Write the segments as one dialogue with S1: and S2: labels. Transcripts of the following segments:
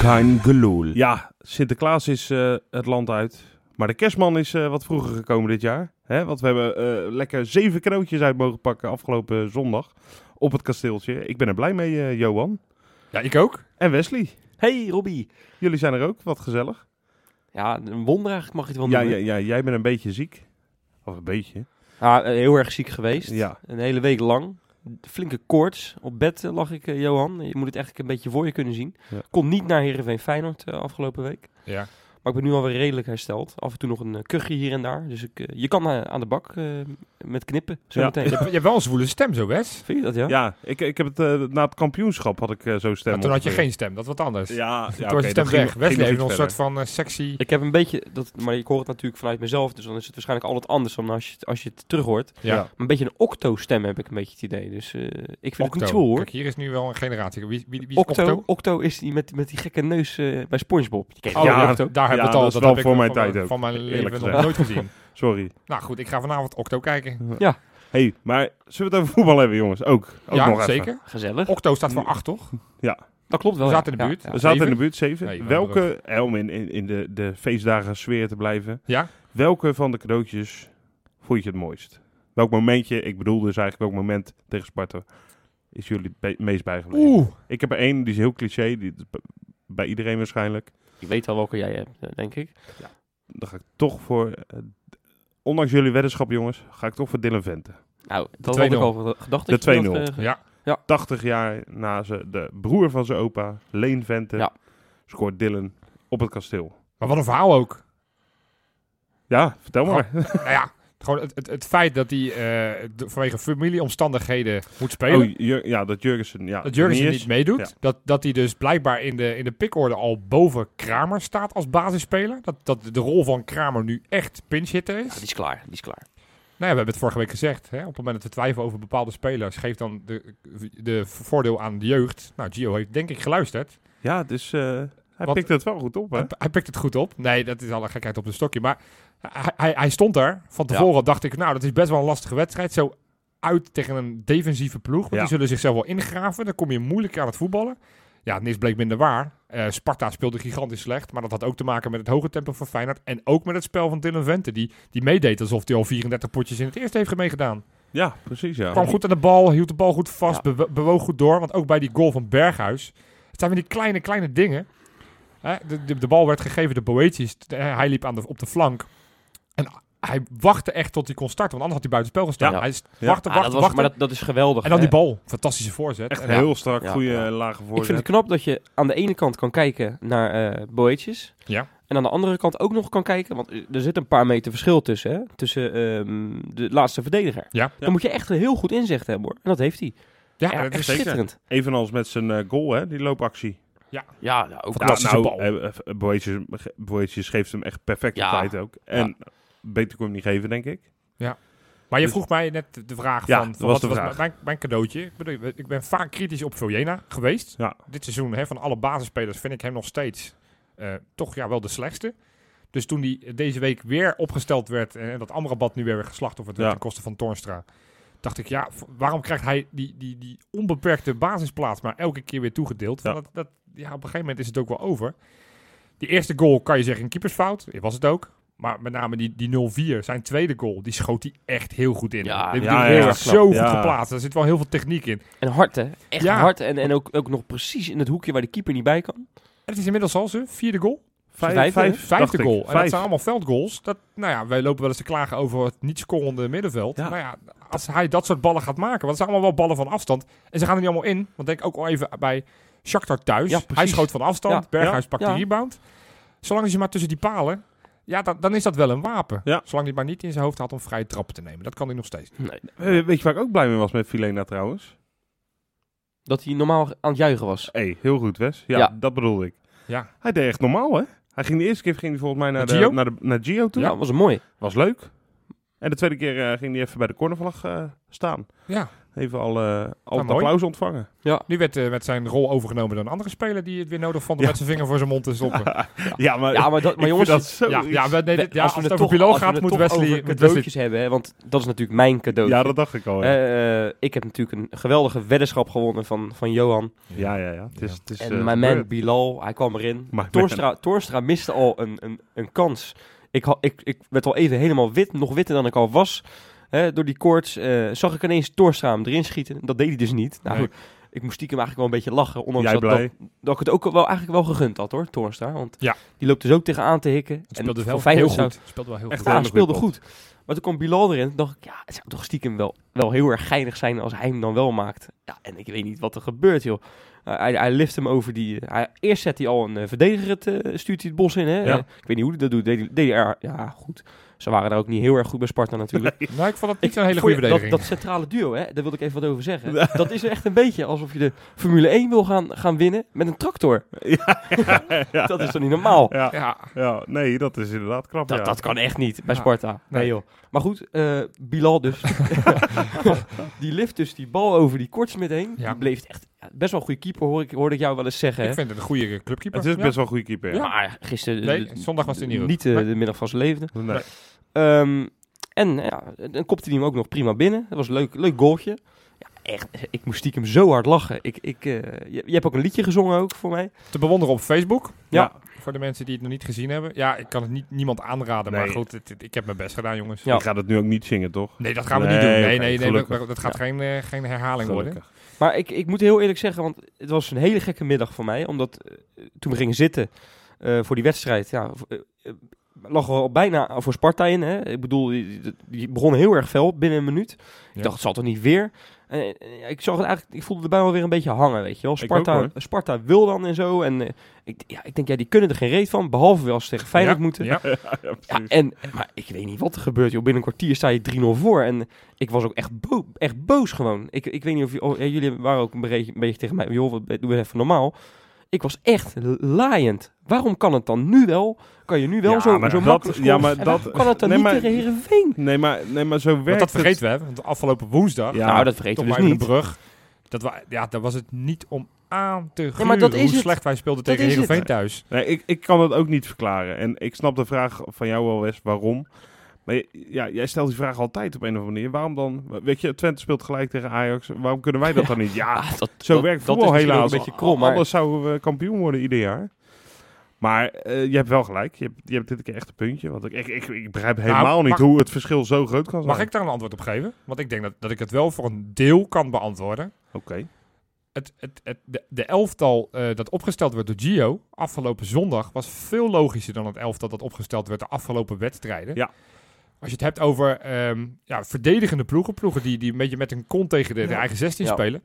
S1: kein geloel.
S2: Ja, Sinterklaas is eh, het land uit. Maar de kerstman is eh, wat vroeger gekomen dit jaar. Hè? Want we hebben eh, lekker zeven cadeautjes uit mogen pakken afgelopen zondag. Op het kasteeltje. Ik ben er blij mee, eh, Johan.
S3: Ja, ik ook.
S2: En Wesley.
S3: Hey, Robbie.
S2: Jullie zijn er ook. Wat gezellig.
S3: Ja, een wonder eigenlijk mag je het wel
S2: Ja,
S3: noemen.
S2: ja, ja, jij bent een beetje ziek. Of een beetje.
S3: Ah, eh, heel erg ziek geweest.
S2: Ja.
S3: Een hele week lang. Flinke koorts. Op bed eh, lag ik, eh, Johan. Je moet het echt een beetje voor je kunnen zien.
S2: Ja.
S3: Kon niet naar Heerenveen Feyenoord eh, afgelopen week.
S4: Ja.
S3: Maar ik ben nu alweer redelijk hersteld. Af en toe nog een eh, kuchje hier en daar. Dus ik, eh, je kan eh, aan de bak eh, met knippen. Zo
S2: Ja.
S3: meteen.
S4: Je hebt, je hebt wel een zwoele stem zo, Wes.
S3: Vind je dat, ja?
S2: Ja, ik, ik heb het eh, na het kampioenschap had ik eh, zo'n stem.
S4: Maar toen had je
S2: ongeveer.
S4: geen stem, dat is wat anders.
S2: Ja, ja
S4: toen
S2: oké,
S4: was je
S2: dat
S4: stem
S2: ging
S4: weg.
S2: nog-
S4: Wesley
S2: ging nog iets
S4: heeft nog een
S2: verder.
S4: soort van eh, sexy...
S3: Ik heb een beetje, dat, maar ik hoor het natuurlijk vanuit mezelf, dus dan is het waarschijnlijk altijd anders dan als je het, als je het terug hoort.
S4: Ja.
S2: Ja.
S3: Een beetje een octo-stem heb ik een beetje het idee, dus eh, ik vind het
S4: Octo.
S3: niet zo hoor.
S4: Kijk, hier is nu wel een generatie. Wie, wie, wie is
S3: Octo,
S4: Octo?
S3: octo? is die met, met die gekke neus eh, bij Spongebob. Je kent
S2: Oh,
S3: die
S2: ja.
S3: Octo.
S4: Daar hebben we
S2: Ja,
S4: het al.
S2: dat is wel
S4: heb ik
S2: voor mijn
S3: van
S2: tijd
S4: van,
S2: ook.
S4: van mijn leven nog
S2: gezegd.
S4: nooit gezien.
S2: Sorry.
S4: nou goed, ik ga vanavond Octo kijken.
S2: hey, maar zullen we het over voetbal hebben, jongens? Ook. ook
S4: ja,
S2: nog even.
S4: zeker.
S3: Gezellig.
S4: Octo staat voor 8, toch?
S3: Oh, Dat klopt wel.
S4: We
S3: ja.
S4: zaten in de
S3: Ja,
S4: buurt.
S3: ja.
S2: We zaten in
S4: Zeven?
S2: de buurt, zeven.
S4: Nee, van
S2: welke, eh, om in, in, in de, de feestdagen sfeer te blijven,
S4: Ja.
S2: welke van de cadeautjes vond je het mooist? Welk momentje, ik bedoel dus eigenlijk welk moment tegen Sparta, is jullie be- meest bijgebleven?
S4: Oeh.
S2: Ik heb er één, die is heel cliché, die is b- bij iedereen waarschijnlijk.
S3: Ik weet al welke jij hebt, eh, denk ik.
S2: Dan ga ik toch voor, eh, d- ondanks jullie weddenschap jongens, ga ik toch voor Dylan Vente.
S3: Nou, dat had
S4: 2-0.
S3: ik al gedacht.
S2: De
S3: dat je
S2: 2-0.
S3: dat, eh, ge-
S4: Ja.
S2: 80 jaar na ze, de broer van zijn opa, Leen Vente,
S3: Ja.
S2: scoort Dylan op het kasteel.
S4: Maar wat een verhaal ook.
S2: Ja, vertel maar.
S4: nou ja, gewoon het, het, het feit dat hij eh, d- vanwege familieomstandigheden moet spelen.
S2: Oh, Jur- ja, dat Jurgensen. Ja,
S4: Dat Jurgensen
S2: niet
S4: niet,
S2: is.
S4: meedoet.
S2: Ja.
S4: Dat, dat hij dus blijkbaar in de, in de pickorde al boven Kramer staat als basisspeler. Dat, dat de rol van Kramer nu echt pinchhitter
S3: ja,
S4: is.
S3: die is klaar, die is klaar.
S4: Nou ja, we hebben het vorige week gezegd. Hè? Op het moment dat we twijfelen over bepaalde spelers, geeft dan de, de voordeel aan de jeugd. Nou, Gio heeft denk ik geluisterd.
S2: Ja, dus eh, hij
S4: Wat-
S2: pikt het wel goed op, hè?
S4: Hij, hij pikt het goed op. Nee, dat is al een gekheid op een stokje. Maar hij, hij, hij stond er. Van tevoren dacht ik, nou, dat is best wel een lastige wedstrijd. Zo uit tegen een defensieve ploeg. Want
S2: Ja.
S4: die zullen zichzelf wel ingraven. Dan kom je moeilijk aan het voetballen. Ja, niks bleek minder waar. Eh, Sparta speelde gigantisch slecht. Maar dat had ook te maken met het hoge tempo van Feyenoord. En ook met het spel van Dylan Vente. Die, die meedeed alsof hij al 34 potjes in het eerste heeft meegedaan.
S2: Ja, precies, ja.
S4: kwam goed aan de bal, hield de bal goed vast,
S3: Ja.
S4: bewo- bewoog goed door. Want ook bij die goal van Berghuis, het zijn van die kleine, kleine dingen. Hè, de, de, de bal werd gegeven door Boetius, t- eh, hij liep aan de, op de flank. En hij wachtte echt tot hij kon starten, want anders had hij buitenspel gestaan.
S3: Ja.
S4: Hij st-
S2: Ja.
S4: wachtte,
S3: Ah,
S4: wachtte,
S3: dat was,
S4: wachtte.
S3: maar dat, dat is geweldig.
S4: en dan
S3: hè?
S4: die bal, fantastische voorzet.
S2: Echt
S4: En-
S2: heel strak,
S3: Ja,
S2: goede eh,
S3: ja.
S2: lage
S3: Ik vind
S2: voorzet.
S3: het knap dat je aan de ene kant kan kijken naar eh Boetjes.
S4: Ja.
S3: En aan de andere kant ook nog kan kijken, want eh, er zit een paar meter verschil tussen. Hè? Tussen ehm, de laatste verdediger.
S4: Ja.
S3: Dan moet je echt een heel goed inzicht hebben hoor. En dat heeft hij.
S4: ja,
S3: Ja,
S4: dat
S3: echt
S4: is
S2: zeker.
S3: schitterend.
S2: Evenals met zijn eh, goal, hè, die loopactie.
S3: Ja, nou, ook
S4: Fantastisch. Klassische bal.
S2: eh, Boetjes- Boetjes geeft hem echt perfect
S3: Ja.
S2: op tijd ook. En beter kon je hem niet geven, denk ik.
S4: Maar je
S2: Dus-
S4: vroeg mij net de vraag
S2: Ja,
S4: van,
S2: dat
S4: van
S2: was
S4: wat
S2: de
S4: was
S2: vraag.
S4: Mijn, mijn cadeautje. Ik, bedoel, ik ben vaak kritisch op Viljena geweest.
S2: Ja.
S4: Dit seizoen hè, van alle basisspelers vind ik hem nog steeds eh, toch ja, wel de slechtste. Dus toen hij deze week weer opgesteld werd en, en dat Amrabat nu weer weer geslachtofferd werd
S2: Ja.
S4: ten koste van Toornstra. Dacht ik, ja, v- waarom krijgt hij die, die, die onbeperkte basisplaats maar elke keer weer toegedeeld? Van
S2: Ja.
S4: Dat, dat, ja, op een gegeven moment is het ook wel over. Die eerste goal kan je zeggen een keepersfout. Was het ook. Maar met name die, die 0-4, zijn tweede goal, die schoot hij echt heel goed in.
S3: Ja,
S4: die
S2: ja,
S4: bedoel,
S2: ja,
S4: heel
S2: ja,
S4: erg
S3: knap.
S4: zo goed
S2: Ja.
S4: geplaatst. Daar zit wel heel veel techniek in.
S3: En hard hè. Echt
S4: Ja.
S3: hard. En, en ook, ook nog precies in het hoekje waar de keeper niet bij kan.
S4: En het is inmiddels al zijn vierde goal.
S2: Vijf,
S3: Vijfde,
S2: vijf, dacht
S4: Vijfde
S2: ik.
S4: goal. En dat
S2: Vijf.
S4: zijn allemaal veldgoals. Dat, nou ja, wij lopen wel eens te klagen over het niet scorende middenveld.
S2: Ja.
S4: Nou ja, als hij dat soort ballen gaat maken. Want het zijn allemaal wel ballen van afstand. En ze gaan er niet allemaal in. Want denk ook al even bij Shakhtar thuis.
S3: Ja,
S4: hij
S3: precies.
S4: schoot van afstand.
S3: Ja.
S4: Berghuis
S3: Ja.
S4: pakt
S3: Ja.
S4: de rebound. Zolang je maar tussen die palen... Ja, dan, dan is dat wel een wapen.
S2: Ja.
S4: Zolang hij maar niet in zijn hoofd had om vrije trappen te nemen. Dat kan hij nog steeds.
S3: Nee.
S2: Eh, Weet je waar ik ook blij mee was met Filena trouwens?
S3: Dat hij normaal aan het juichen was.
S2: Hé, heel goed Wes. Ja,
S3: Ja.
S2: dat bedoelde ik.
S4: Ja.
S2: Hij deed echt normaal, hè? Hij ging de eerste keer ging hij volgens mij naar,
S4: Naar
S2: de,
S4: Gio?
S2: Naar, de, naar Gio toe.
S3: Ja,
S4: Oh,
S3: was een mooi.
S2: Was leuk. En de tweede keer eh, ging hij even bij de cornervlag eh, staan.
S4: Ja.
S2: Even alle, al het
S4: mooi.
S2: applaus ontvangen.
S4: Nu werd eh, met zijn rol overgenomen door een andere speler die het weer nodig vond om
S2: Ja.
S4: met zijn vinger voor zijn mond te stoppen.
S2: Ja, maar,
S3: Ja, maar, dat, maar jongens,
S2: dat zo
S4: ja, ja, we- nee, dit- ja, als,
S3: als we
S4: het
S3: het
S4: over
S3: toch,
S4: Bilal
S3: als we
S4: gaat,
S3: het
S4: moet
S3: toch
S4: Wesley,
S3: over
S4: moet Wesley
S3: cadeautjes hebben, hè, want dat is natuurlijk mijn cadeautje.
S2: ja, dat dacht ik al. Ja,
S3: Eh, eh, ik heb natuurlijk een geweldige weddenschap gewonnen van, van Johan.
S2: ja, ja. ja. Het is, het is,
S3: en
S2: eh,
S3: mijn
S2: gebeurd.
S3: man Bilal, hij kwam erin.
S2: Maar-
S3: Torstra, Torstra miste al een, een, een kans. Ik, ha- ik, ik werd al even helemaal wit, nog witter dan ik al was. Hè, door die koorts eh, zag ik ineens Torstra hem erin schieten. Dat deed hij dus niet. Nou,
S4: Nee.
S3: goed, ik moest stiekem eigenlijk wel een beetje lachen. Ondanks
S2: Jij
S3: dat, dat,
S2: blij?
S3: dat ik het ook wel, eigenlijk wel gegund had hoor, Torstra. Want
S4: Ja.
S3: die loopt dus ook tegenaan te hikken.
S4: Het speelde
S3: voor
S4: wel heel
S3: Feyenoord zou-
S4: goed. Speelde wel heel
S2: Echt
S4: goed.
S3: Ja,
S2: hele
S3: hij speelde
S2: goede
S3: goed. Maar toen kwam Bilal erin. Toen dacht ik, ja, het zou toch stiekem wel, wel heel erg geinig zijn als hij hem dan wel maakt. Ja, en ik weet niet wat er gebeurt, joh. Uh, hij, hij lift hem over die... hij, eerst zet hij al een eh, verdediger, het, eh, stuurt hij het bos in, hè.
S2: Ja.
S3: Eh, ik weet niet hoe hij dat doet. Deed hij- deed hij er- ja, goed. Ze waren daar ook niet heel erg goed bij Sparta natuurlijk.
S4: Nou, ik vond dat niet
S3: Ik-
S4: een hele
S3: voor
S4: goede
S3: je-
S4: verdediging.
S3: Dat, dat centrale duo, hè, daar wilde ik even wat over zeggen. Dat is echt een beetje alsof je de Formule 1 wil gaan, gaan winnen met een tractor.
S2: ja,
S3: Dat is toch niet normaal?
S2: ja,
S4: Ja,
S2: ja, nee, dat is inderdaad knap.
S3: Dat,
S2: ja.
S3: dat kan echt niet bij
S4: Ja.
S3: Sparta. Nee,
S4: Nee.
S3: joh. Maar goed, eh, Bilal dus. die lift dus die bal over die kortsmid heen.
S4: Ja.
S3: Die bleef echt ja, best wel een goede keeper, hoor ik, hoorde ik jou wel eens zeggen.
S4: ik
S3: Hè?
S4: vind het een goede clubkeeper.
S2: Het is
S4: Ja.
S2: best wel een goede keeper. Ja.
S3: Maar gisteren...
S4: Nee,
S3: eh,
S4: zondag was hij niet goed.
S3: Niet eh,
S4: Nee.
S3: de middag van zijn leven.
S2: Nee.
S4: Nee.
S3: Ehm, en nou ja, dan kopte hij hem ook nog prima binnen. Dat was een leuk, leuk goaltje. Ja, echt, ik moest stiekem zo hard lachen. Ik, ik, eh, je, je hebt ook een liedje gezongen ook voor mij.
S4: Te bewonderen op Facebook.
S3: Ja.
S4: Voor de mensen die het nog niet gezien hebben. Ja, ik kan het niet, niemand aanraden. Maar
S2: Nee.
S4: goed, het- het- ik heb mijn best gedaan, jongens.
S3: Ja.
S2: Ik ga dat nu ook niet zingen, toch?
S4: Nee, dat gaan we
S2: Nee,
S4: niet doen. Nee,
S2: oké,
S4: nee, nee.
S2: gelukkig.
S4: dat- Dat gaat geen, eh, geen herhaling worden.
S2: Gelukkig.
S3: Maar ik, ik moet heel eerlijk zeggen, want het was een hele gekke middag voor mij. Omdat eh, toen we gingen zitten eh, voor die wedstrijd, ja, v- eh, eh, lag er al bijna voor Sparta in. Hè? Ik bedoel, die, die- die begon heel erg fel binnen een minuut.
S4: Ja.
S3: Ik dacht, het zal toch niet weer? En, eh, ik, zag het eigenlijk, ik voelde erbij wel weer een beetje hangen, weet je wel.
S2: Ik ook,
S3: Sparta,
S2: hoor.
S3: Sparta wil dan en zo. En eh, ik, ja, ik denk, ja, die kunnen er geen reet van, behalve wel als ze tegen Feyenoord
S4: Ja,
S3: moeten.
S4: Ja,
S2: Ja,
S3: Ja,
S2: precies.
S3: en, maar ik weet niet wat er gebeurt, joh. Binnen een kwartier sta je 3-0 voor. En ik was ook echt, bo echt boos gewoon. Ik, ik weet niet of je- oh, ja, jullie waren ook een beetje, een beetje tegen mij. Joh, wat doe je even normaal? Ik was echt laaiend. Waarom kan het dan nu wel? Kan je nu wel
S2: Ja,
S3: zo,
S2: maar
S3: zo
S2: dat-
S3: makkelijk
S2: ja,
S3: scoren?
S2: maar dat-
S3: En waarom kan het dan
S2: nee,
S3: niet
S2: maar-
S3: tegen Heerenveen?
S2: Nee, maar, nee, maar zo
S4: want
S2: werkt
S4: dat
S2: het.
S4: vergeten we. hè, Want afgelopen woensdag,
S2: Ja.
S3: nou, dat vergeten
S4: toch
S3: we dus
S4: bij de
S3: niet.
S4: brug. Dat wa- ja, daar was het niet om aan te gluren
S3: maar dat is
S4: hoe
S3: het.
S4: slecht wij speelden
S3: Dat
S4: tegen
S3: is het.
S4: Heerenveen thuis.
S2: Nee, ik, ik kan het ook niet verklaren. En ik snap de vraag van jou wel, Wes, waarom. Maar j- ja, jij stelt die vraag altijd op een of andere manier. Waarom dan? Weet je, Twente speelt gelijk tegen Ajax. Waarom kunnen wij dat dan niet? Ja,
S3: Ah, dat,
S2: zo
S3: dat-
S2: werkt
S3: dat
S2: voetbal
S3: is misschien ook
S2: helaas.
S3: een beetje krom, maar
S2: Anders zouden we kampioen worden ieder jaar. Maar eh, je hebt wel gelijk. Je hebt, je hebt dit keer echt een puntje. Want ik, ik, ik, ik begrijp
S3: Nou,
S2: helemaal niet
S4: mag-
S2: hoe het verschil zo groot kan zijn.
S4: Mag ik daar een antwoord op geven? Want ik denk dat, dat ik het wel voor een deel kan beantwoorden.
S2: Oké.
S4: Het, het, het, de, de elftal eh, dat opgesteld werd door Gio afgelopen zondag was veel logischer dan het elftal dat opgesteld werd de afgelopen wedstrijden.
S2: Ja.
S4: Als je het hebt over ehm, ja, verdedigende ploegen, ploegen die, die een beetje met een kont tegen de, de
S2: Ja.
S4: eigen 16
S3: Ja.
S4: spelen,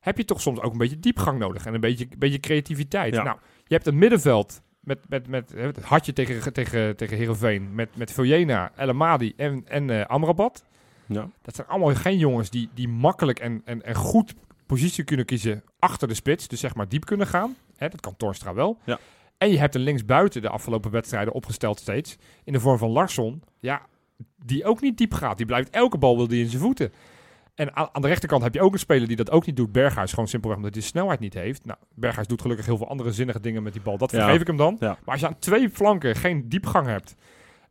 S4: heb je toch soms ook een beetje diepgang nodig en een beetje, een beetje creativiteit.
S2: Ja.
S4: Nou, je hebt een middenveld met, met, met eh, dat had je tegen, tegen, tegen Heerenveen, met, met Vojena, El Amadi en, en eh, Amrabat.
S2: Ja.
S4: Dat zijn allemaal geen jongens die, die makkelijk en, en, en goed positie kunnen kiezen achter de spits. Dus zeg maar diep kunnen gaan. Hè, dat kan Torstra wel.
S2: Ja.
S4: En je hebt een linksbuiten de afgelopen wedstrijden opgesteld steeds. In de vorm van Larsson. Ja, die ook niet diep gaat. Die blijft elke bal wil die in zijn voeten. En aan, aan de rechterkant heb je ook een speler die dat ook niet doet. Berghuis. Gewoon simpelweg omdat hij de snelheid niet heeft. Nou, Berghuis doet gelukkig heel veel andere zinnige dingen met die bal. Dat
S2: Ja.
S4: vergeef ik hem dan.
S2: Ja.
S4: Maar als je aan twee flanken geen diepgang hebt.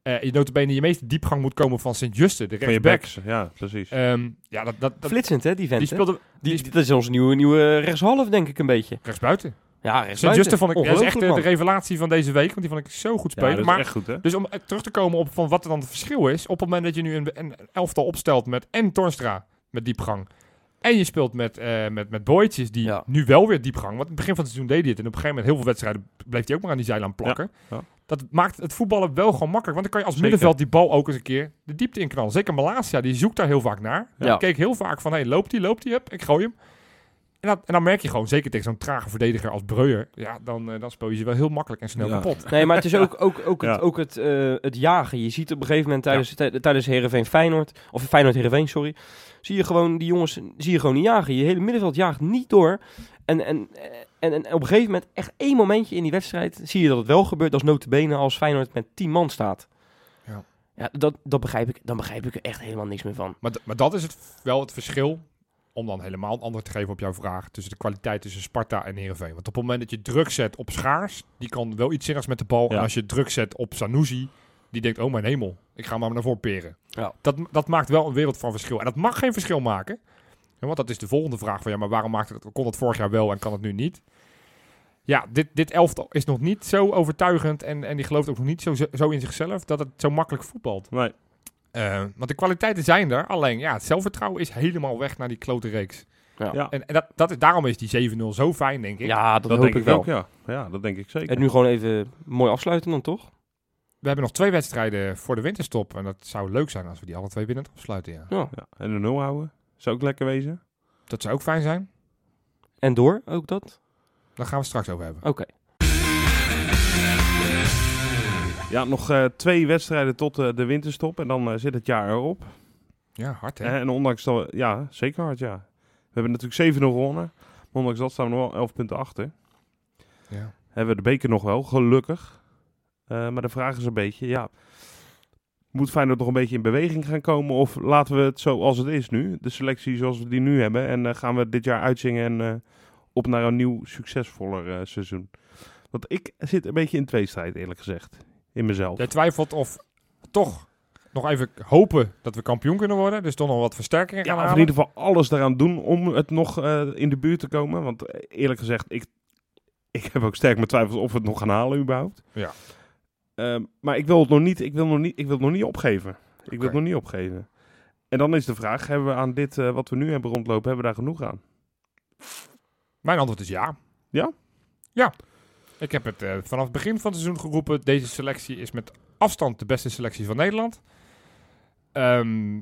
S4: eh je notabene je meeste diepgang moet komen van Sint-Juste, de
S2: Van je
S4: rechtsback.
S2: backs. Ja, precies.
S3: Eh,
S4: Ehm, ja, dat, dat, dat-
S3: flitsend hè, die vent.
S4: die
S3: hè?
S4: speelde
S3: Die- die- dat is onze nieuwe, nieuwe rechtshalf, denk ik een beetje.
S4: rechtsbuiten.
S3: Ja,
S4: Sint
S3: rechtsbuiten.
S4: Justin vond ik dat is echt eh,
S3: Ongelooflijk,
S4: de
S3: man.
S4: revelatie van deze week, want die vond ik zo goed
S2: ja,
S4: spelen.
S2: dat is
S4: maar
S2: echt goed, hè?
S4: dus om eh, terug te komen op van wat er dan het verschil is, op het moment dat je nu een, een elftal opstelt met en Torstra met diepgang. En je speelt met, eh met, met Boytjes, die
S3: Ja.
S4: nu wel weer diepgang. Want in het begin van het seizoen deed hij het. En op een gegeven moment, heel veel wedstrijden, bleef hij ook maar aan die zijlijn plakken.
S2: Ja, ja.
S4: Dat maakt het voetballen wel gewoon makkelijk. Want dan kan je als
S2: Zeker.
S4: middenveld die bal ook eens een keer de diepte in knallen. Zeker Malasia, die zoekt daar heel vaak naar.
S3: Ja.
S4: Ik keek heel vaak van, hé, hey, loopt die, loopt die, hup, ik gooi hem. En, dat, en dan merk je gewoon, zeker tegen zo'n trage verdediger als Breuer, ja, dan, eh, dan speel je ze wel heel makkelijk en snel
S2: Ja.
S4: kapot.
S3: Nee, maar het is ook, ook, ook,
S2: Ja.
S3: het, ook het, eh, het jagen. Je ziet op een gegeven moment tijdens, tij- tijdens Heerenveen Feyenoord, of Feyenoord Heerenveen, sorry, zie je gewoon die jongens zie je gewoon niet jagen. Je hele middenveld jaagt niet door. En, en, eh, en, en op een gegeven moment, echt één momentje in die wedstrijd, zie je dat het wel gebeurt als notabene als Feyenoord met 10 man staat.
S4: Ja.
S3: Ja, dat, dat begrijp ik, dan begrijp ik er echt helemaal niks meer van.
S4: Maar, d- maar dat is het, wel het verschil Om dan helemaal een antwoord te geven op jouw vraag tussen de kwaliteit tussen Sparta en Heerenveen. Want op het moment dat je druk zet op Schaars, die kan wel iets zinnigs met de bal.
S2: Ja.
S4: En als je druk zet op Sanusi, die denkt, oh mijn hemel, ik ga maar naar voren peren.
S3: Ja.
S4: Dat, dat maakt wel een wereld van verschil. En dat mag geen verschil maken. Ja, want dat is de volgende vraag van, ja, maar waarom maakte het, kon dat vorig jaar wel en kan het nu niet? Ja, dit, dit elftal is nog niet zo overtuigend en, en die gelooft ook nog niet zo, zo in zichzelf dat het zo makkelijk voetbalt.
S2: Nee.
S4: Eh, want de kwaliteiten zijn er, alleen ja, het zelfvertrouwen is helemaal weg naar die klote reeks.
S3: Ja.
S2: Ja.
S4: En, en dat, dat, is- daarom is die 7-0 zo fijn, denk ik.
S3: Ja, dat,
S2: Dat
S3: hoop
S2: denk
S3: ik, wel.
S2: ook, ja. ja, dat denk ik zeker.
S3: En nu gewoon even mooi afsluiten dan, toch?
S4: We hebben nog twee wedstrijden voor de winterstop en dat zou leuk zijn als we die alle twee winnend afsluiten, ja.
S3: Ja.
S2: Ja, en een nul houden. Zou ook lekker wezen.
S4: Dat zou ook fijn zijn.
S3: En door, ook dat?
S4: Daar gaan we het straks over hebben.
S3: Oké.
S2: Ja, nog eh, twee wedstrijden tot eh, de winterstop en dan eh, zit het jaar erop.
S4: Ja, hard hè.
S2: Eh, en ondanks dat, we- ja, zeker hard, ja. We hebben natuurlijk 7-0 gewonnen. Maar Ondanks dat staan we nog wel 11 punten achter.
S4: ja.
S2: Hebben we de beker nog wel, gelukkig. Eh, maar de vraag is een beetje, ja... Moet Feyenoord nog een beetje in beweging gaan komen? Of laten we het zoals het is nu? De selectie zoals we die nu hebben. En eh, gaan we dit jaar uitzingen en eh, op naar een nieuw, succesvoller eh, seizoen. Want ik zit een beetje in tweestrijd, eerlijk gezegd. In mezelf.
S4: Jij twijfelt of toch nog even hopen dat we kampioen kunnen worden. Dus toch nog wat versterkingen gaan
S2: Ja, of in
S4: halen.
S2: ieder geval alles daaraan doen om het nog eh, in de buurt te komen. Want eh, eerlijk gezegd, ik, ik heb ook sterk mijn twijfels of we het nog gaan halen überhaupt.
S4: Ja.
S2: Ehm, maar ik wil het nog niet, ik wil nog niet, ik wil het nog niet opgeven. Ik wil het
S4: Oké.
S2: nog niet opgeven. En dan is de vraag, hebben we aan dit eh, wat we nu hebben rondlopen, hebben we daar genoeg aan?
S4: Mijn antwoord is ja.
S2: Ja?
S4: Ja. Ik heb het eh, vanaf het begin van het seizoen geroepen. Deze selectie is met afstand de beste selectie van Nederland. Ehm,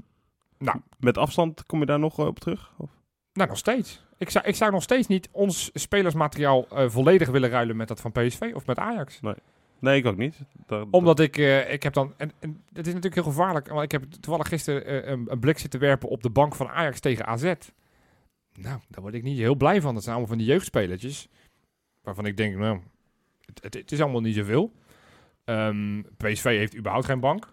S2: Met afstand kom je daar nog eh, op terug? Of?
S4: nou, nog steeds. Ik zou, ik zou nog steeds niet ons spelersmateriaal eh, volledig willen ruilen met dat van PSV of met Ajax.
S2: Nee, ik ook niet. Daar-
S4: Omdat ik, eh, ik heb dan, en, en het is natuurlijk heel gevaarlijk, want ik heb toevallig gisteren eh, een, een blik zitten werpen op de bank van Ajax tegen AZ. Nou, daar word ik niet heel blij van. Dat zijn allemaal van die jeugdspelertjes, waarvan ik denk, nou, het, het, het is allemaal niet zoveel. Ehm PSV heeft überhaupt geen bank.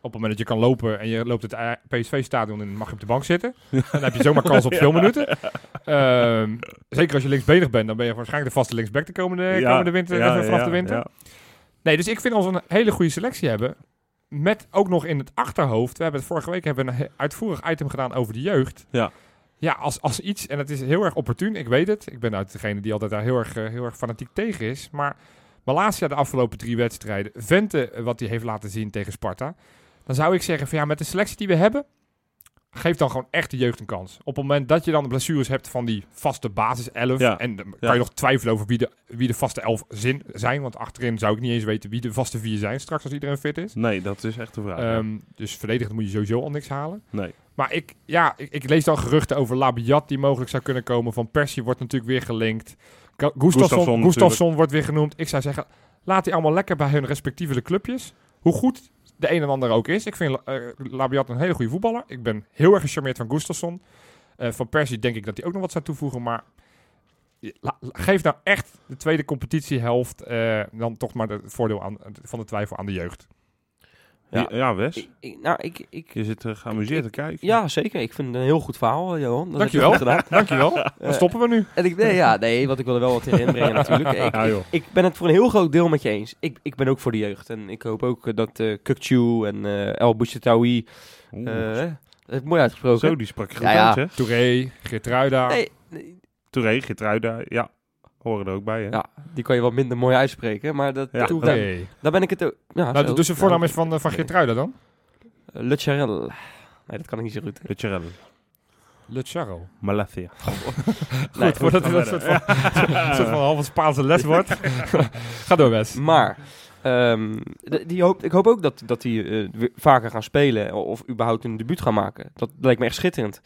S4: Op het moment dat je kan lopen en je loopt het PSV-stadion in, mag je op de bank zitten. Dan heb je zomaar kans op veel minuten. Ehm, zeker als je linksbenig bent, dan ben je waarschijnlijk de vaste linksback de komende,
S2: Ja,
S4: komende winter,
S2: ja,
S4: vanaf
S2: ja,
S4: de winter.
S2: ja.
S4: Nee, dus ik vind ons een hele goede selectie hebben. Met ook nog in het achterhoofd. We hebben het vorige week hebben we een he- uitvoerig item gedaan over de jeugd.
S2: Ja.
S4: Ja, als, als iets. En het is heel erg opportun. Ik weet het. Ik ben uit degene die altijd daar heel erg, eh, heel erg fanatiek tegen is. Maar Malasia de afgelopen drie wedstrijden. Vente eh, wat hij heeft laten zien tegen Sparta. Dan zou ik zeggen van ja, met de selectie die we hebben. Geef dan gewoon echt de jeugd een kans. Op het moment dat je dan de blessures hebt van die vaste basis 11.
S2: Ja.
S4: En dan kan
S2: Ja.
S4: je nog twijfelen over wie de, wie de vaste 11 zin zijn. Want achterin zou ik niet eens weten wie de vaste vier zijn straks als iedereen fit is.
S2: Nee, dat is echt de vraag. ja.
S4: Ehm, dus verdedigend moet je sowieso al niks halen.
S2: Nee.
S4: Maar ik, ja, ik, ik lees dan geruchten over Labiat die mogelijk zou kunnen komen. Van Persie wordt natuurlijk weer gelinkt. Ka- Gustafsson,
S2: Gustafsson
S4: Gustafsson wordt weer genoemd. Ik zou zeggen, laat die allemaal lekker bij hun respectieve clubjes. Hoe goed de een en ander ook is. Ik vind eh, Labiat een hele goede voetballer. Ik ben heel erg gecharmeerd van Gustafsson. Eh, van Persie denk ik dat hij ook nog wat zou toevoegen. Maar la- la- geef nou echt de tweede competitiehelft eh, dan toch maar de- het voordeel aan, van de twijfel aan de jeugd.
S2: ja. ja, Wes,
S3: Ik, ik- nou, ik, ik,
S2: je zit eh, geamuseerd te kijken.
S3: ja, zeker. Ik vind het een heel goed verhaal, eh, Johan. Dat heb je
S4: Dankjewel.
S3: goed gedaan. Eh,
S4: Dankjewel. Dan stoppen we nu.
S3: En ik, nee, ja, nee, want ik wil er wel wat in brengen natuurlijk. Ik,
S4: Ja, joh.
S3: ik ben het voor een heel groot deel met je eens. Ik, ik ben ook voor de jeugd. En ik hoop ook eh, dat eh Kukchu en eh El Bouchatoui...
S2: Oeh,
S3: eh dat heb ik mooi uitgesproken.
S4: Eh,
S2: zo, die sprak je goed
S3: Ja, ja.
S2: uit, hè?
S4: Touré, Geertruida.
S3: Nee, nee,
S2: Touré, Gitruida, ja, horen er ook bij. Hè?
S3: ja, die kan je wat minder mooi uitspreken. Maar dat,
S2: Ja.
S3: doe ik
S4: Oké.
S3: daar, daar ben ik het ook... Ja,
S4: Nou,
S3: zo.
S4: dus de voornaam
S3: Nou,
S4: is van, eh, van
S3: nee.
S4: Geertruida dan?
S3: Eh, Le Charel. Nee, dat kan ik niet zo goed.
S2: De Cherelle.
S4: Le Charo.
S2: Malathia.
S4: Goed,
S3: Nee.
S4: voordat het een
S2: gaan
S4: soort van, een soort van halve Spaanse les wordt. Ga door, Wes.
S3: Maar ehm, d- die hoop, ik hoop ook dat, dat die eh, weer vaker gaan spelen of überhaupt een debuut gaan maken. Dat lijkt me echt schitterend.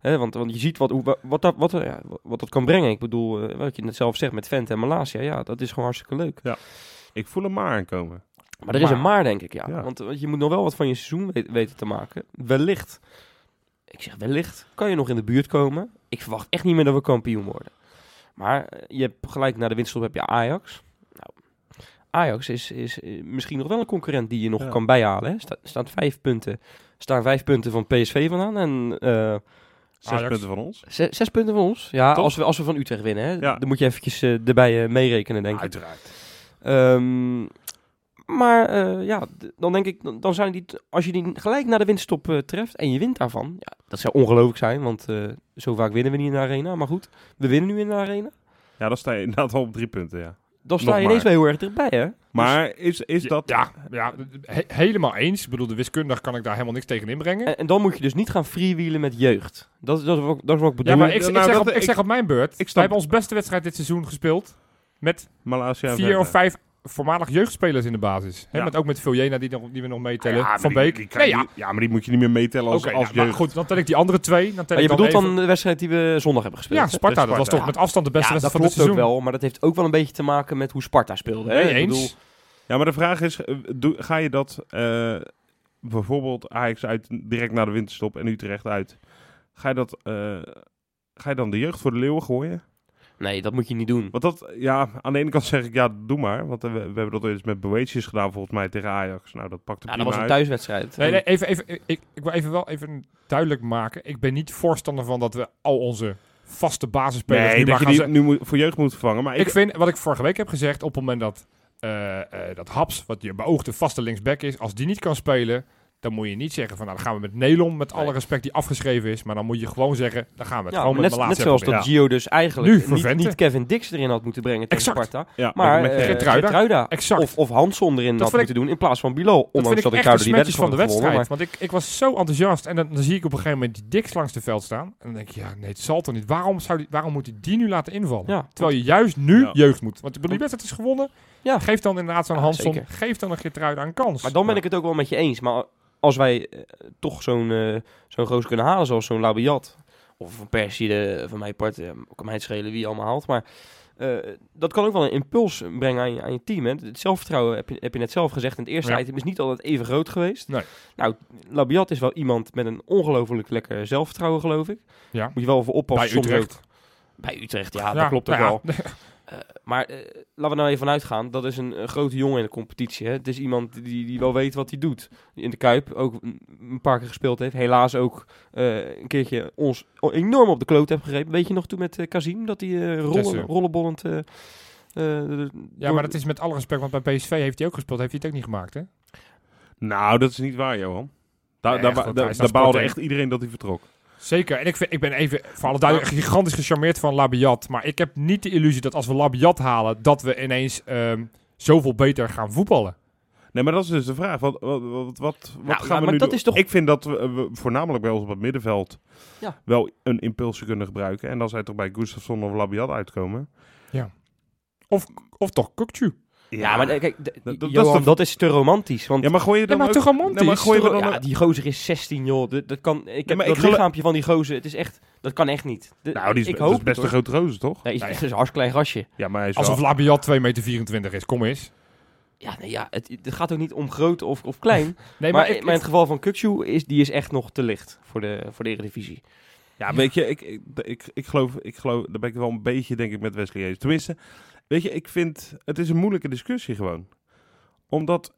S3: Hè, want, want je ziet wat, hoe- wat, dat, wat, er- ja, wat dat kan brengen. Ik bedoel, eh, wat je net zelf zegt met Vente en Malasia, ja, dat is gewoon hartstikke leuk.
S2: Ik voel hem maar aankomen.
S3: Maar er is
S4: Maar-
S3: een maar, denk ik, ja.
S2: Ja.
S3: Want, eh, want je moet nog wel wat van je seizoen we- weten te maken. Wellicht, ik zeg wellicht, kan je nog in de buurt komen. Ik verwacht echt niet meer dat we kampioen worden. Maar eh, je hebt gelijk na de winststop heb je Ajax. Nou, Ajax is, is eh, misschien nog wel een concurrent die je nog
S2: Ja.
S3: kan bijhalen. Hè. Sta- staat vijf punten, staan vijf punten van PSV vandaan. En eh,
S2: Zes
S4: Ajax.
S2: punten van ons.
S3: Zes, zes punten van ons. Ja,
S2: Toch?
S3: als we, als we van Utrecht winnen, hè,
S2: Ja.
S3: dan moet je eventjes eh, erbij eh, meerekenen, denk ik.
S2: Uiteraard.
S3: Ehm, maar eh, ja, d- dan denk ik, dan, dan zijn die, t- als je die gelijk na de winststop eh, treft en je wint daarvan, ja, dat zou ongelooflijk zijn, want eh, zo vaak winnen we niet in de arena. Maar goed, we winnen nu in de arena.
S2: Ja, dan sta je inderdaad al op drie punten, ja.
S3: Dan sta
S2: Nog
S3: je
S2: maar.
S3: ineens wel heel erg dichtbij, hè?
S2: Maar is, is dat...
S4: Dus- Ja, ja he- helemaal eens. Ik bedoel, de wiskundig kan ik daar helemaal niks tegen inbrengen.
S2: Eh,
S3: En, en dan moet je dus niet gaan freewheelen met jeugd. Dat, dat, is, wat, dat is wat ik
S4: Ja,
S3: bedoel.
S4: maar ik, ik,
S2: nou,
S4: zeg,
S2: dat-
S4: op, ik
S2: ik-
S4: zeg op mijn beurt.
S2: snap-
S4: we hebben ons beste wedstrijd dit seizoen gespeeld. Met
S2: Malasia en
S4: vier
S2: Vente.
S4: of vijf voormalig jeugdspelers in de basis. Hè,
S2: Ja.
S4: met, ook met Viljena die, nog- die we nog meetellen.
S2: Ja, maar
S4: Van
S2: die-
S4: Beek.
S2: die kan
S4: nee,
S2: je-
S4: ja.
S2: ja, maar die moet je niet meer meetellen als,
S4: Oké,
S2: als
S4: nou, maar
S2: jeugd.
S4: goed, dan tel ik die andere twee. Dan tel
S3: Maar je
S4: ik
S3: bedoelt
S4: even-
S3: dan de wedstrijd die we zondag hebben gespeeld?
S4: Ja,
S3: hè?
S4: Sparta. Dat was
S2: Sparta.
S4: toch met afstand de beste
S3: Ja, dat
S4: wedstrijd van het
S3: klopt ook
S4: seizoen.
S3: wel, maar dat heeft ook wel een beetje te maken met hoe Sparta speelde. Hè?
S4: Nee,
S3: Ik bedoel,
S4: eens.
S2: Ja, maar de vraag is, eh, doe- ga je dat eh, bijvoorbeeld Ajax uit direct na de winterstop en Utrecht uit, ga je dat... eh, Ga je dan de jeugd voor de leeuwen gooien?
S3: nee, dat moet je niet doen.
S2: Want dat, ja, aan de ene kant zeg ik ja, doe maar. Want eh, we, we hebben dat eens met Boetius gedaan, volgens mij tegen Ajax. Nou, dat pakte
S3: Ja,
S2: prima
S3: dat was een
S2: uit.
S3: thuiswedstrijd.
S4: Nee, nee, even, even, ik, ik wil even wel even duidelijk maken. Ik ben niet voorstander van dat we al onze vaste basisspelers
S2: Nee,
S4: nu maar
S2: dat je
S4: gaan
S2: die
S4: ze-
S2: nu moet- voor jeugd moet vervangen. Maar ik,
S4: Ik vind, wat ik vorige week heb gezegd, op het moment dat, eh, eh, dat Haps, wat je beoogde vaste linksback is, als die niet kan spelen, dan moet je niet zeggen van, nou, dan gaan we met Nelom, met alle
S3: Nee.
S4: respect die afgeschreven is, maar dan moet je gewoon zeggen, dan gaan we het
S3: Ja,
S4: gewoon
S3: maar
S4: met
S3: net, net
S4: Malaatse
S3: zoals
S4: proberen.
S3: dat Gio dus
S4: Nu
S3: eigenlijk
S4: voor
S3: niet,
S4: Vente.
S3: niet Kevin Dix erin had moeten brengen tegen
S4: Exact.
S3: Sparta.
S2: ja, ben
S3: Maar
S2: ik met je
S3: eh,
S2: eens.
S4: Geertruida.
S3: Geertruida.
S4: Exact.
S3: Of, of Hanson erin
S4: Dat
S3: had
S4: vind ik-
S3: moeten doen in plaats van Bilal.
S4: Dat
S3: Ondanks
S4: vind
S3: dat
S4: ik
S3: ik
S4: echt de
S3: Kruida die
S4: smetjes
S3: wedstrijd
S4: van de
S3: had gewonnen,
S4: wedstrijd.
S3: maar-
S4: Want ik, ik was zo enthousiast. En dan, dan zie ik op een gegeven moment die Dix langs de veld staan. En dan denk ik, ja, nee, het zal toch niet. Waarom, zou die, waarom moet hij die nu laten invallen?
S3: Ja.
S4: Terwijl je juist nu
S2: Ja.
S4: jeugd moet. Want ik bedoel, die wedstrijd is gewonnen.
S3: Ja.
S4: Geef dan inderdaad zo'n
S3: Ja,
S4: Hanson.
S3: zeker.
S4: Geef dan een Geertruiden aan kans.
S3: Maar dan ben ik het ook wel met je eens. Maar als wij eh, toch zo'n eh, zo'n gozer kunnen halen, zoals zo'n Labiat. Of een Persie, de, van mijn part. eh, kan mij het schelen wie je allemaal haalt. Maar eh, dat kan ook wel een impuls brengen aan je, aan je team. Hè. Het zelfvertrouwen heb je, heb je net zelf gezegd. En het eerste
S4: Ja.
S3: item is niet altijd even groot geweest.
S4: Nee.
S3: Nou, Labiat is wel iemand met een ongelooflijk lekker zelfvertrouwen, geloof ik.
S4: Ja.
S3: Moet je wel voor
S4: bij
S3: oppassen. soms
S4: Utrecht.
S3: ook. Bij Utrecht, ja, dat klopt ook
S4: nou ja,
S3: wel. Eh, maar eh, laten we nou even vanuit gaan. Dat is een, eh, grote jongen in de competitie. Hè? Het is iemand die, die wel weet wat hij doet. In de Kuip ook een, een paar keer gespeeld heeft. Helaas ook eh, een keertje ons enorm op de kloot heeft gegrepen. Weet je nog toen met eh, Kazim? Dat hij eh, rollen,
S4: Tessen.
S3: rollenbollend... eh, eh,
S4: Ja,
S3: door-
S4: maar dat is met alle respect, want bij PSV heeft hij ook gespeeld. Heeft hij het ook niet gemaakt, hè?
S2: Nou, dat is niet waar, Johan. Daar,
S4: Nee,
S2: daar,
S4: echt,
S2: ba-
S4: want
S2: daar,
S4: hij is
S2: daar
S4: naar
S2: baalde
S4: Sporting.
S2: echt iedereen dat hij vertrok.
S4: Zeker. En ik, vind, ik ben even, voor alle duidelijkheid, gigantisch gecharmeerd van Labiat. Maar ik heb niet de illusie dat als we Labiat halen, dat we ineens ehm, zoveel beter gaan voetballen.
S2: Nee, maar dat is dus de vraag. Wat, wat, wat, wat
S3: Nou,
S2: gaan
S3: ja,
S2: we
S3: maar
S2: nu
S3: dat
S2: doen?
S3: is toch-
S2: Ik vind dat we, we voornamelijk bij ons op het middenveld
S3: Ja.
S2: wel een impulsje kunnen gebruiken. En dan zij toch bij Gustafsson of Labiat uitkomen.
S4: Of toch, Kukcu.
S3: Ja, maar eh, kijk, d-
S2: dat- dat is
S3: Johan, dat,
S2: de-
S3: is te romantisch. Want
S2: ja, maar gooi je
S4: Ja,
S2: dan
S4: maar
S2: ook...
S4: toch romantisch.
S2: Nee, maar gooi je
S4: Toch-
S2: dan
S3: ja,
S2: ook-
S3: die gozer is 16, joh. Dat, dat kan, ik heb
S2: maar
S3: dat
S2: ik geloof-
S3: lichaampje van die gozer. Het is echt... Dat kan echt niet. De-
S2: Nou, die is,
S3: ik
S2: dat
S3: hoop
S2: is
S3: het,
S2: best een
S3: hoor.
S2: grote roze, toch?
S3: Nee,
S4: Nou ja.
S3: dat is een hartstikke klein gastje.
S2: Ja, maar hij is
S4: Alsof
S2: wel...
S4: Labiat 2,24 meter 24 is, kom eens.
S3: Ja, nee, ja het, het gaat ook niet om groot of, of klein.
S4: Nee,
S3: maar,
S4: maar,
S3: in-
S4: ik,
S3: maar in
S4: ik-
S3: het geval van Kukju is die is echt nog te licht voor de, voor de Eredivisie.
S2: Ja, weet je, ik, ik, ik, ik geloof, ik geloof... Daar ben ik wel een beetje, denk ik, met Wesley eens. Tenminste, weet je, ik vind... Het is een moeilijke discussie gewoon. Omdat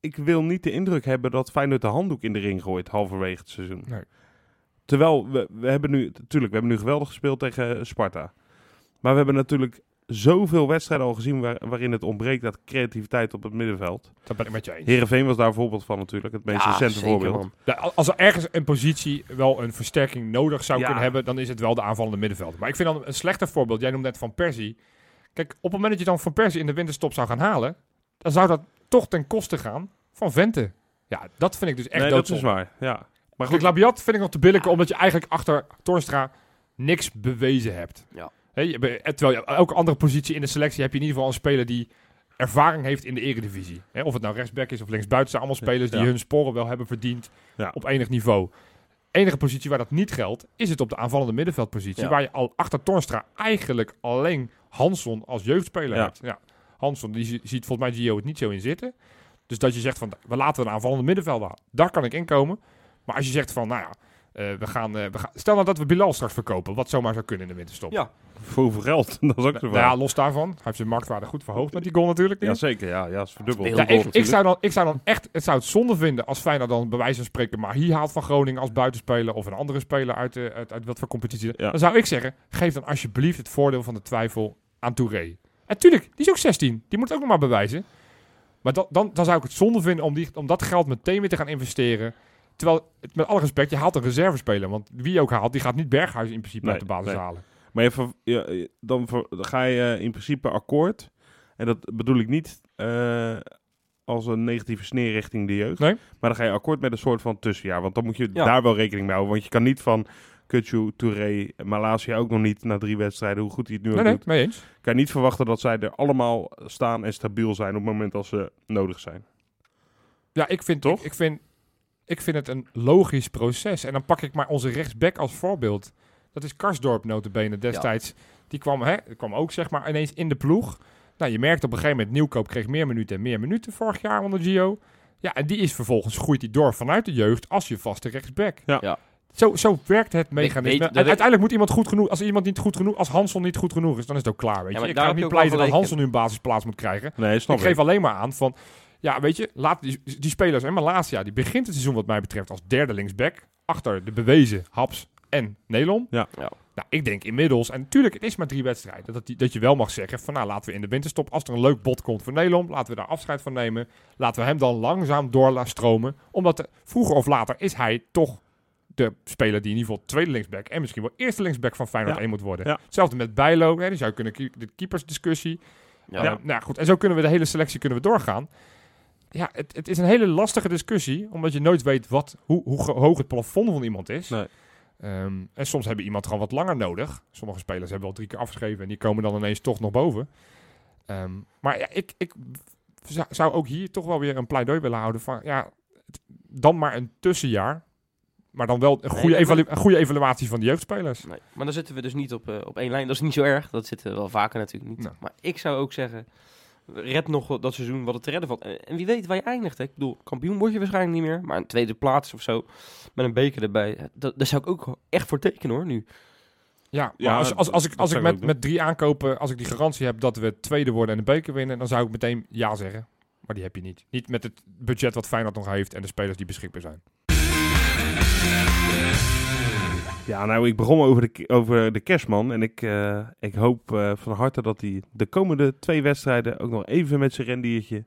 S2: ik wil niet de indruk hebben dat Feyenoord de handdoek in de ring gooit halverwege het seizoen.
S4: Nee.
S2: Terwijl, we, we hebben nu... Natuurlijk, we hebben nu geweldig gespeeld tegen eh, Sparta. Maar we hebben natuurlijk zoveel wedstrijden al gezien waar- waarin het ontbreekt dat creativiteit op het middenveld.
S4: dat ben ik met je eens.
S2: Herenveen was daar een voorbeeld van natuurlijk, het meest
S3: Ah,
S2: recente voorbeeld.
S4: Ja, al- Als er ergens een positie wel een versterking nodig zou
S2: Ja.
S4: kunnen hebben, dan is het wel de aanvallende middenvelder. Maar ik vind dan een slechter voorbeeld, jij noemt net Van Persie. Kijk, op het moment dat je dan Van Persie in de winterstop zou gaan halen, dan zou dat toch ten koste gaan van Vente. Ja, dat vind ik dus echt
S2: nee, dat is
S4: doodzonde.
S2: waar, ja. Maar
S4: Kijk, Labiat vind ik nog te billijken, omdat je eigenlijk achter Torstra niks bewezen hebt.
S3: Ja.
S4: Hè, je be- eh, terwijl je elke andere positie in de selectie heb je in ieder geval een speler die ervaring heeft in de eredivisie. Hè, of het nou rechtsback is of linksbuiten, zijn allemaal spelers die
S2: Ja.
S4: hun sporen wel hebben verdiend
S2: Ja.
S4: op enig niveau. Enige positie waar dat niet geldt, is het op de aanvallende middenveldpositie,
S3: Ja.
S4: waar je al achter Torstra eigenlijk alleen Hanson als jeugdspeler
S2: Ja.
S4: hebt. Ja, Hanson die zi- ziet volgens mij Gio het niet zo in zitten. Dus dat je zegt van, we laten een aanvallende middenvelder, daar kan ik in komen. Maar als je zegt van, nou ja, Eh, we gaan, eh, we gaan, stel nou dat we Bilal straks verkopen, wat zomaar zou kunnen in de winterstop.
S3: Ja.
S2: Voor hoeveel geld? dat is ook de
S4: Nou ja,
S2: vraag.
S4: los daarvan. Hij heeft zijn marktwaarde goed verhoogd met die goal natuurlijk. nu.
S2: Ja, zeker. Ja, ja is verdubbeld.
S4: Ja, ik, ik, zou dan, ik zou dan echt, het zou het zonde vinden als Feyenoord dan bij wijze van spreken maar hier haalt van Groningen als buitenspeler of een andere speler uit, eh, uit, uit wat voor competitie.
S2: Ja.
S4: Dan zou ik zeggen, geef dan alsjeblieft het voordeel van de twijfel aan Touré. En tuurlijk, die is ook 16. Die moet het ook nog maar bewijzen. Maar dan, dan, dan zou ik het zonde vinden om, die, om dat geld meteen weer te gaan investeren. Terwijl, het- met alle respect, je haalt een reservespeler. Want wie je ook haalt, die gaat niet Berghuis in principe
S2: Nee,
S4: uit de basis
S2: nee.
S4: halen.
S2: Maar je ver- je- je- dan, ver- dan ga je eh, in principe akkoord. En dat bedoel ik niet eh, als een negatieve sneer richting de jeugd.
S4: Nee.
S2: Maar dan ga je akkoord met een soort van tussenjaar. Want dan moet je
S3: Ja.
S2: daar wel rekening mee houden. Want je kan niet van Kutsu, Touré, Malasia ook nog niet na drie wedstrijden, hoe goed hij het nu ook
S4: Nee, nee,
S2: doet.
S4: mee eens.
S2: Kan je niet verwachten dat zij er allemaal staan en stabiel zijn op het moment als ze nodig zijn.
S4: Ja, ik vind toch? Ik, ik vind, ik vind het een logisch proces. En dan pak ik maar onze rechtsback als voorbeeld. Dat is Karsdorp notabene destijds. Die kwam, hè, kwam ook zeg maar ineens in de ploeg. Nou, je merkt op een gegeven moment Nieuwkoop kreeg meer minuten en meer minuten vorig jaar onder Gio. Ja, en die is vervolgens groeit die door vanuit de jeugd als je vaste rechtsback.
S2: Ja.
S3: Ja.
S4: Zo, zo werkt het mechanisme.
S3: weet dat
S4: En
S3: ik-
S4: uiteindelijk moet iemand goed genoeg. Als iemand niet goed genoeg, als Hansel niet goed genoeg is, dan is het ook klaar. Weet
S3: Ja,
S4: je.
S3: maar
S4: Ik
S3: daar
S4: ga
S3: heb je
S4: niet
S3: ook wel
S4: pleiten dat
S3: gelijk
S4: Hansel nu een basisplaats moet krijgen.
S2: Nee, snap
S4: Ik geef alleen maar aan van, ja, weet je, laat die, die spelers. En Malasia, die begint het seizoen wat mij betreft als derde linksback. Achter de bewezen Haps en Nelom.
S2: Ja.
S3: Ja.
S4: Nou, ik denk inmiddels, en natuurlijk, het is maar drie wedstrijden, dat, die, dat je wel mag zeggen van, nou, laten we in de winterstop, als er een leuk bod komt voor Nelom, laten we daar afscheid van nemen. Laten we hem dan langzaam door laten stromen. Omdat de- vroeger of later is hij toch de speler die in ieder geval tweede linksback en misschien wel eerste linksback van Feyenoord
S2: Ja.
S4: 1 moet worden.
S2: Ja.
S4: Hetzelfde met Bijlo, hè, die zou je kunnen, kie- de keepersdiscussie. Ja.
S3: ja.
S4: nou ja, goed. En zo kunnen we de hele selectie kunnen we doorgaan. Ja, het, het is een hele lastige discussie, omdat je nooit weet wat, hoe, hoe ge- hoog het plafond van iemand is.
S2: Nee.
S4: Ehm, en soms hebben iemand gewoon wat langer nodig. Sommige spelers hebben al drie keer afgeschreven en die komen dan ineens toch nog boven. Ehm, maar ja, ik, ik zou, zou ook hier toch wel weer een pleidooi willen houden van, ja, het- dan maar een tussenjaar. Maar dan wel een goede,
S3: maar-
S4: evalu- een goede evaluatie van de jeugdspelers.
S3: Nee, maar dan zitten we dus niet op, eh, op één lijn. Dat is niet zo erg. Dat zitten we wel vaker natuurlijk niet.
S4: Nee.
S3: Maar ik zou ook zeggen, red nog wel dat seizoen wat het te redden valt. En, en wie weet waar je eindigt. Hè? Ik bedoel, kampioen word je waarschijnlijk niet meer. Maar een tweede plaats of zo, met een beker erbij. eh, Dat, daar zou ik ook echt voor tekenen hoor, nu.
S4: Ja, maar
S2: Ja,
S4: als, als, als ik,
S2: dat
S4: als
S2: zou
S4: ik
S2: ik ook
S4: met,
S2: doen.
S4: met drie aankopen, als ik die garantie heb dat we tweede worden en de beker winnen, dan zou ik meteen ja zeggen. Maar die heb je niet. Niet met het budget wat Feyenoord nog heeft en de spelers die beschikbaar zijn.
S2: Ja, nou, ik begon over de, ke- over de kerstman. En ik, eh, ik hoop eh, van harte dat hij de komende twee wedstrijden ook nog even met zijn rendiertje